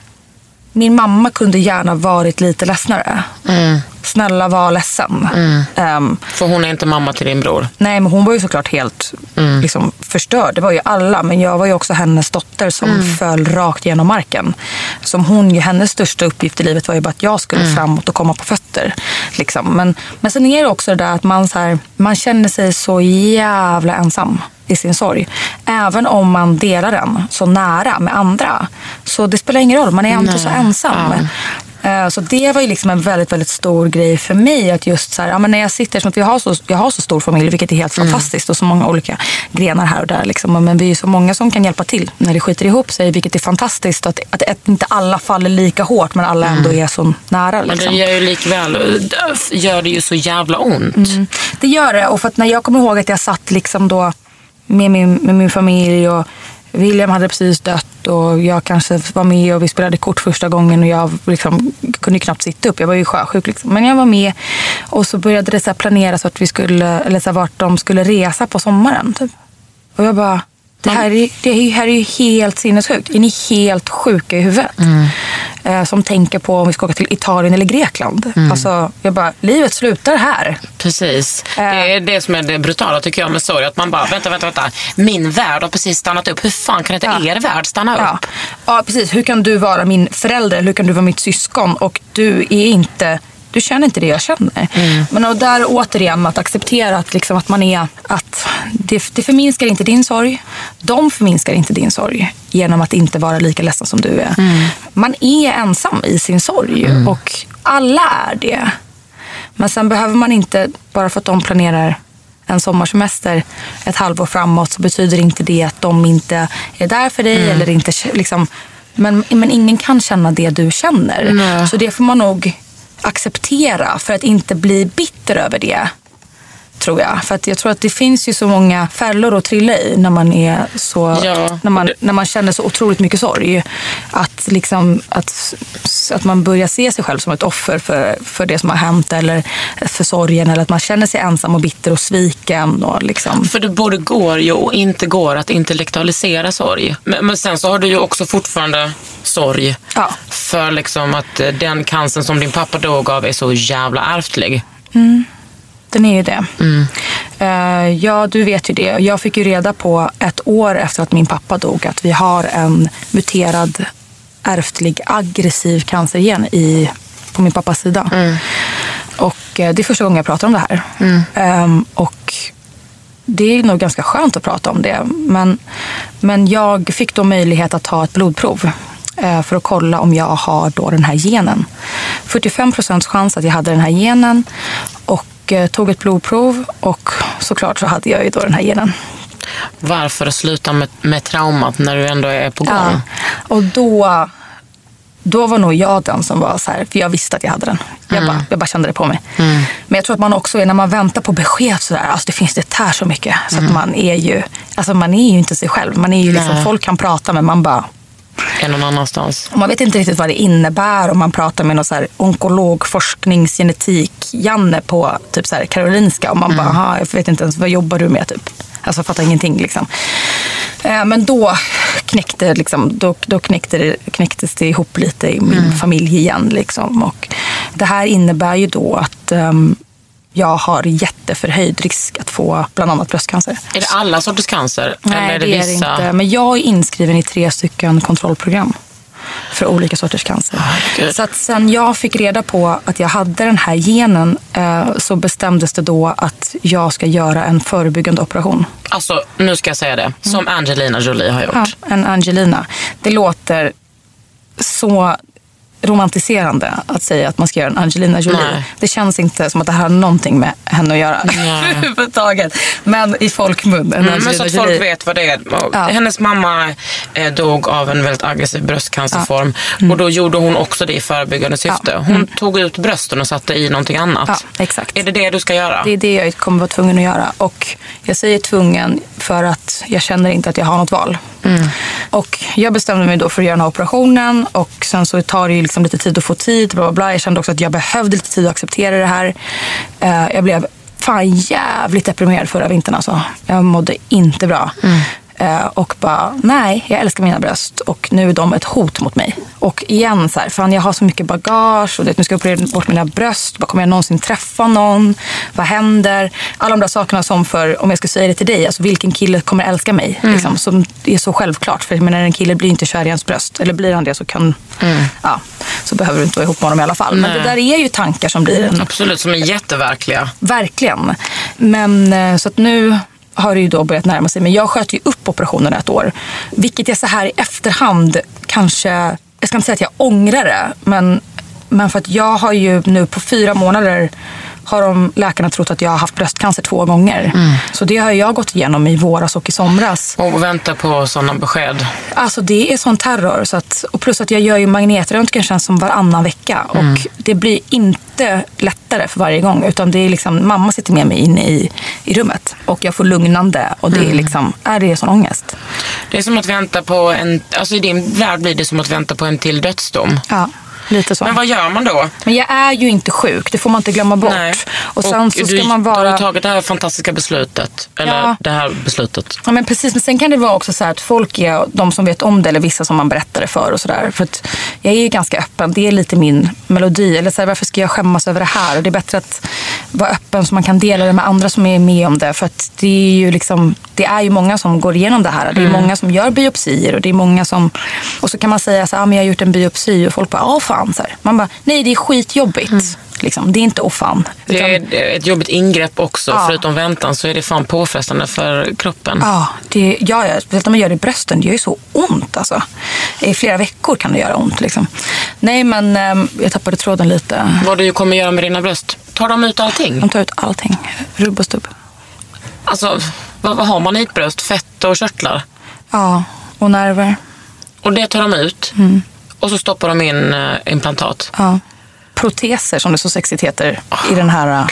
min mamma kunde gärna varit lite ledsnare. Mm. Snälla var ledsen. Ehm, För hon är inte mamma till din bror. Nej, men hon var ju såklart helt liksom, förstörd. Det var ju alla. Men jag var ju också hennes dotter som föll rakt genom marken. Som hon, ju- hennes största uppgift i livet var ju bara att jag skulle framåt och komma på fötter. Liksom. Men, men sen är det också det där att man, så här, man känner sig så jävla ensam i sin sorg. Även om man delar den så nära med andra. Så det spelar ingen roll, man är inte så ensam. Eh, Så det var ju liksom en väldigt, väldigt stor grej för mig. Att just så här, ja, men när jag sitter, som att jag har, så, jag har så stor familj, vilket är helt fantastiskt och så många olika grenar här och där. Liksom. Men vi är ju så många som kan hjälpa till när det skiter ihop sig, vilket är fantastiskt. Att, att, att inte alla faller lika hårt, men alla ändå är så nära. Men det Liksom. gör ju likväl gör det ju så jävla ont. Det gör det. Och för att när jag kommer ihåg att jag satt liksom då med min, med min familj och William hade precis dött och jag kanske var med och vi spelade kort första gången och jag liksom kunde ju knappt sitta upp. Jag var ju sjösjuk. Liksom. Men jag var med och så började det så här planeras vart, vi skulle, eller så här vart de skulle resa på sommaren. Typ. Och jag bara, det här, är, ju- det är ju- här är ju helt sinnessjukt. Är ni helt sjuka i huvudet? Eh, som tänker på om vi ska åka till Italien eller Grekland. Alltså, jag bara, livet slutar här. Precis. Eh. Det är det som är det brutala tycker jag med sorg. Att man bara, vänta, vänta, vänta. Min värld har precis stannat upp. Hur fan kan inte Ja. er värld stanna Ja. upp? ja, precis. Hur kan du vara min förälder? Hur kan du vara mitt syskon? Och du är inte... Du känner inte det jag känner. Men och där återigen att acceptera att, liksom, att man är... Att det, det förminskar inte din sorg. De förminskar inte din sorg genom att inte vara lika ledsen som du är. Man är ensam i sin sorg och alla är det. Men sen behöver man inte, bara för att de planerar en sommarsemester ett halvår framåt så betyder inte det att de inte är där för dig. Eller inte, liksom, men, men ingen kan känna det du känner. Så det får man nog acceptera för att inte bli bitter över det. Tror jag. För att jag tror att det finns ju så många fällor att trilla i när man, är så, Ja, när man, när man känner så otroligt mycket sorg. Att, liksom, att, att man börjar se sig själv som ett offer för, för det som har hänt eller för sorgen. Eller att man känner sig ensam och bitter och sviken. Och liksom. För det både går ju och inte går att intellektualisera sorg. Men, men sen så har du ju också fortfarande sorg. Ja. För liksom att eh, den cancern som din pappa dog av är så jävla ärftlig. Den är ju det. Eh, ja, du vet ju det. Jag fick ju reda på ett år efter att min pappa dog att vi har en muterad ärftlig aggressiv cancergen i, på min pappas sida. Och eh, Det är första gången jag pratar om det här. Ehm, och det är nog ganska skönt att prata om det. Men, men jag fick då möjlighet att ta ett blodprov eh, för att kolla om jag har då den här genen. 45 procents chans att jag hade den här genen och eh, tog ett blodprov och såklart så hade jag ju då den här genen. Varför sluta med, med traumat när du ändå är på gång? Ja. Och då, då var nog jag den som var så här, för jag visste att jag hade den. Jag, bara, jag bara kände det på mig. Men jag tror att man också är, när man väntar på besked så där, alltså det finns det tär så mycket. Så att man är ju, alltså man är ju inte sig själv. Man är ju liksom, Nej. folk kan prata men man bara, Är någon annanstans? och man vet inte riktigt vad det innebär om man pratar med någon så här onkolog, forskningsgenetik, Janne på typ så här Karolinska och man bara, "Aha, jag vet inte ens, vad jobbar du med typ? Alltså jag fattar ingenting liksom. Eh, Men då knäckte, liksom, då, då knäckte det, knäcktes det ihop lite i min familj igen. Liksom. Och det här innebär ju då att ehm, jag har jätteförhöjd risk att få bland annat bröstcancer. Är det alla sorters cancer? Nej, Eller är det, det är det vissa? inte. Men jag är inskriven i tre stycken kontrollprogram för olika sorters cancer. Herregud. Så att sen jag fick reda på att jag hade den här genen eh, så bestämdes det då att jag ska göra en förebyggande operation. Alltså, nu ska jag säga det. Som Angelina Jolie har gjort. Mm. Ja, en Angelina. Det låter så romantiserande att säga att man ska göra en Angelina Jolie. Nej. Det känns inte som att det här har någonting med henne att göra överhuvudtaget. Men i folkmun, en Angelina Mm, men så att Jolie. folk vet vad det är. Och Ja. Hennes mamma eh, dog av en väldigt aggressiv bröstcancerform och då gjorde hon också det i förebyggande syfte. Mm. Ja. Mm. Hon tog ut brösten och satte i någonting annat. Ja, exakt. Är det det du ska göra? Det är det jag kommer vara tvungen att göra. Och jag säger tvungen för att jag känner inte att jag har något val. Och jag bestämde mig då för att göra den här operationen och sen så tar det ju liksom lite tid att få tid. Bla bla bla. Jag kände också att jag behövde lite tid att acceptera det här. Eh, Jag blev fan jävligt deprimerad förra vintern alltså. Jag mådde inte bra. Eh, Och bara, nej, jag älskar mina bröst och nu är de ett hot mot mig. Och igen, så här, fan jag har så mycket bagage och det, nu ska jag operera bort mina bröst. Bara, kommer jag någonsin träffa någon? Vad händer? Alla de där sakerna som för, om jag ska säga det till dig, alltså vilken kille kommer älska mig? Liksom, som är så självklart. För jag menar, en kille blir inte kär i ens bröst. Eller blir han det så kan, ja, så behöver du inte vara ihop med honom i alla fall. Men det där är ju tankar som blir en Absolut, som är jätteverkliga. Verkligen. Men eh, så att nu har det ju då börjat närma sig. Men jag sköt ju upp operationen ett år. Vilket jag så här i efterhand kanske, jag ska inte säga att jag ångrar det. Men, men för att jag har ju nu på fyra månader har de läkarna trott att jag har haft bröstcancer två gånger. Så det har jag gått igenom i våras och i somras. Och vänta på sådana besked. Alltså det är sån terror. Så att, och plus att jag gör ju magnetröntgen känns som varannan vecka. Mm. Och det blir inte lättare för varje gång. Utan det är liksom, mamma sitter med mig inne i, i rummet. Och jag får lugnande. Och det Mm. är liksom, är det är sån ångest. Det är som att vänta på en... Alltså i din värld blir det som att vänta på en till dödsdom. Ja, lite så. Men Men, vad gör man då? jag är ju inte sjuk. Det får man inte glömma bort. Och sen så ska du, man Då har vara... du tagit det här fantastiska beslutet. Eller Ja. det här beslutet. Ja, men precis. Men sen kan det vara också så här att folk är de som vet om det eller vissa som man berättar det för och sådär. För att jag är ju ganska öppen. Det är lite min melodi. Eller så här, varför ska jag skämmas över det här? Och det är bättre att vara öppen så man kan dela det med andra som är med om det. För att det är ju liksom, det är ju många som går igenom det här. Det Mm. är många som gör biopsier och det är många som... Och så kan man säga så här, ah, men jag har gjort en biopsi och folk bara, ja fan. Så här. Man bara, nej det är skitjobbigt. Liksom. Det är inte åh fan. Mm. Det Utan- är ett jobbigt ingrepp också. Ja. Förutom väntan så är det fan påfrestande för kroppen. Ja, det, ja, ja, speciellt om man gör det i brösten. Det gör ju så ont alltså. I flera veckor kan det göra ont. Liksom. Nej, men ehm, jag tappade tråden lite. Vad du kommer göra med dina bröst. Tar de ut De allting? tar ut allting. Rubb och stubb. Alltså, vad, vad har man i ett bröst? Fett och körtlar. Ja, och nerver. Och det tar de ut. Mm. Och så stoppar de in eh, implantat. Ja. Proteser som det så sexigt heter i den här eh,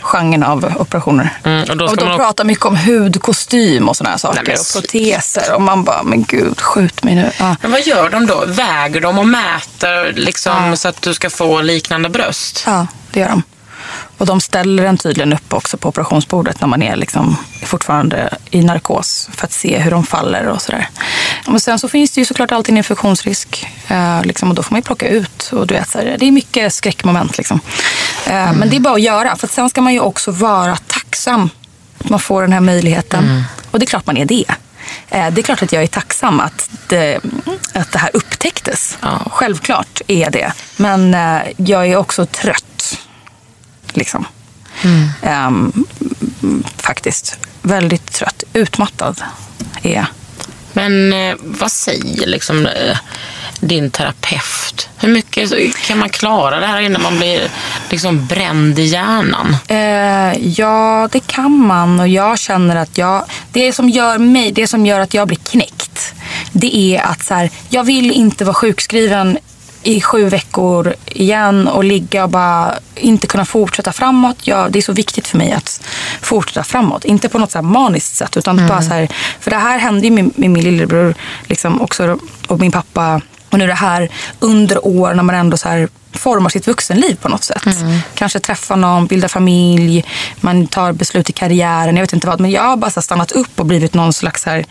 genren av operationer. Mm, och då ska och de man också- pratar mycket om hud, kostym och sådana här saker. Nej, men och proteser. Och man bara, men gud, skjut mig nu. Ja. Men vad gör de då? Väger de och mäter liksom, så att du ska få liknande bröst? Ja, det gör de. Och de ställer den tydligen upp också på operationsbordet när man är liksom fortfarande i narkos för att se hur de faller och sådär. Och sen så finns det ju såklart alltid en infektionsrisk eh, liksom, och då får man ju plocka ut. Och du vet, så här, det är mycket skräckmoment. Liksom. Eh, Men det är bara att göra. För att sen ska man ju också vara tacksam att man får den här möjligheten. Och det är klart man är det. Eh, Det är klart att jag är tacksam att det, att det här upptäcktes. Självklart är jag det. Men eh, jag är också trött. Liksom. Ehm, mm, faktiskt. Väldigt trött. Utmattad är jag. Men eh, vad säger liksom, eh, din terapeut? Hur mycket kan man klara det här innan man blir liksom, bränd i hjärnan? Eh, ja, det kan man. Och jag känner att jag... Det som gör mig, det som gör att jag blir knäckt, det är att så här, jag vill inte vara sjukskriven i sju veckor igen och ligga och bara inte kunna fortsätta framåt. Ja, det är så viktigt för mig att fortsätta framåt. Inte på något så här maniskt sätt utan bara så här, för det här hände ju med, med min lillebror liksom också, och min pappa och nu det här under år när man ändå så här formar sitt vuxenliv på något sätt. Kanske träffa någon, bilda familj, man tar beslut i karriären. Jag vet inte vad. Men jag har bara så här stannat upp och blivit någon slags så här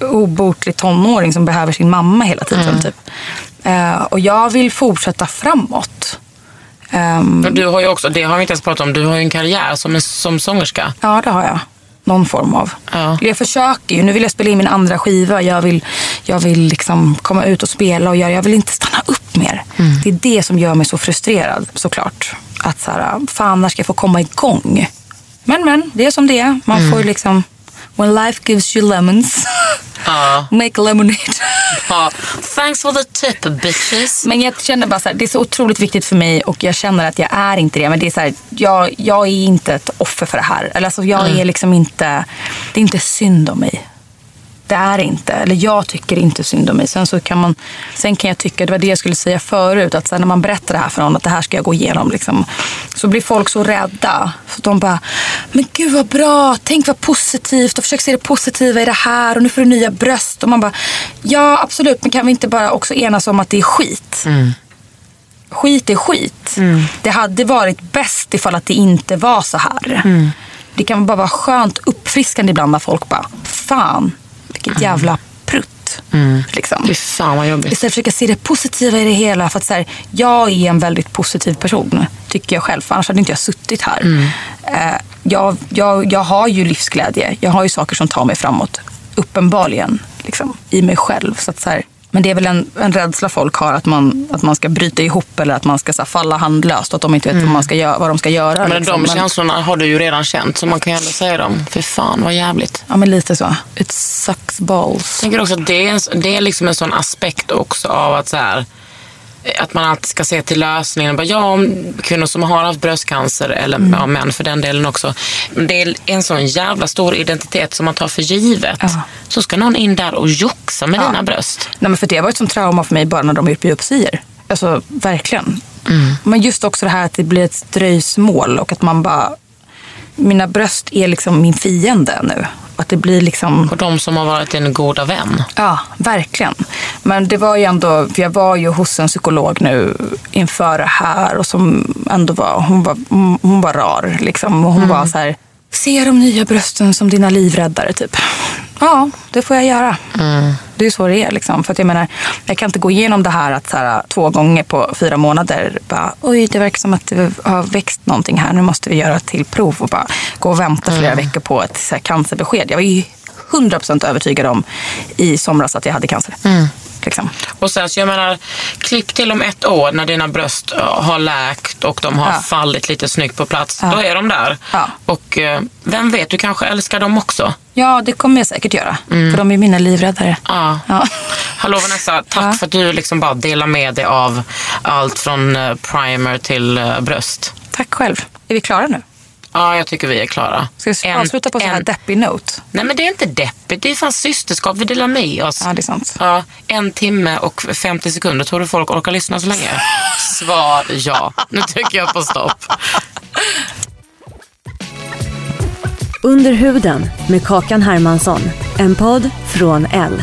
obotlig tonåring som behöver sin mamma hela tiden. Typ. Eh, och jag vill fortsätta framåt. Ehm, Men Du har ju också, det har vi inte ens pratat om, du har ju en karriär som, en, som sångerska. Ja, det har jag. Någon form av. Ja. Jag försöker ju. Nu vill jag spela in min andra skiva. Jag vill, jag vill liksom komma ut och spela och göra. Jag vill inte stanna upp mer. Det är det som gör mig så frustrerad såklart. Att så här, fan när ska jag få komma igång? Men men, det är som det är. Man får ju liksom, when life gives you lemons, Ja. make lemonade. Ja. Thanks for the tip bitches. Men jag känner bara så här, det är så otroligt viktigt för mig och jag känner att jag är inte det. Men det är så här, jag, jag är inte ett offer för det här. Eller alltså, jag är liksom inte, det är inte synd om mig. Det är det inte. Eller jag tycker inte synd om mig. Sen, så kan, man, sen kan jag tycka, det var det jag skulle säga förut, att så här, när man berättar det här för någon, att det här ska jag gå igenom. Liksom, så blir folk så rädda. Så de bara, men gud vad bra, tänk vad positivt och försök se det positiva i det här och nu får du nya bröst. Och man bara, ja absolut, men kan vi inte bara också enas om att det är skit? skit är skit. Det hade varit bäst ifall att det inte var så här. Det kan bara vara skönt uppfriskande ibland när folk bara, fan vilket jävla prutt. Liksom. Fy fan vad jobbigt. Istället för att försöka se det positiva i det hela. För att så här, jag är en väldigt positiv person, tycker jag själv. För annars hade inte jag suttit här. Eh, jag, jag, jag har ju livsglädje. Jag har ju saker som tar mig framåt. Uppenbarligen, liksom, i mig själv. Så att så här, men det är väl en, en rädsla folk har, att man, att man ska bryta ihop eller att man ska så här, falla handlöst. Och att de inte vet vad, man ska göra, vad de ska göra. Men liksom. de känslorna har du ju redan känt så man kan ju ändå säga dem. Fy fan vad jävligt. Ja, men lite så. It sucks balls. Jag tänker också att det är, en- det är liksom en sån aspekt också av att så här, att man alltid ska se till lösningen. Bara, ja, om kvinnor som har haft bröstcancer, eller Mm. ja, män för den delen också. Men Det är en sån jävla stor identitet som man tar för givet. Ja. Så ska någon in där och joxa med dina bröst. Nej, men för det var ett sånt trauma för mig bara när de gjort biopsier. Alltså verkligen. Men just också det här att det blir ett dröjsmål och att man bara... Mina bröst är liksom min fiende nu. Att det blir liksom... Och de som har varit en goda vän. Ja, verkligen. Men det var ju ändå, för jag var ju hos en psykolog nu inför det här och som ändå var, hon var, hon- hon var rar liksom. Och hon var så här, se de nya brösten som dina livräddare typ. Ja, det får jag göra. Det är ju så det är liksom. För att jag menar, jag kan inte gå igenom det här att så här, två gånger på fyra månader bara, oj det verkar som att det har växt någonting här, nu måste vi göra ett till prov och bara gå och vänta flera veckor på ett så här, cancerbesked. Jag var ju 100% övertygad om i somras att jag hade cancer. Mm. Liksom. Och sen så jag menar, klipp till om ett år när dina bröst eh, har läkt och de har Ja. fallit lite snyggt på plats. Ja. Då är de där. Ja. Och eh, vem vet, du kanske älskar dem också. Ja, det kommer jag säkert göra. För de är mina livräddare. Mm. Ja. Ja. Hallå Vanessa, tack Ja. för att du liksom bara delar med dig av allt från eh, primer till eh, bröst. Tack själv. Är vi klara nu? Ja, jag tycker vi är klara. Ska vi En- avsluta på en sån här en- deppig note? Nej men det är inte deppigt, det är fan systerskap, vi delar med oss. Ja, det är sant. Ja, en timme och 50 sekunder, tror du folk orkar lyssna så länge? Svar ja. Nu tycker jag på stopp. Under huden med Kakan Hermansson. En podd från L.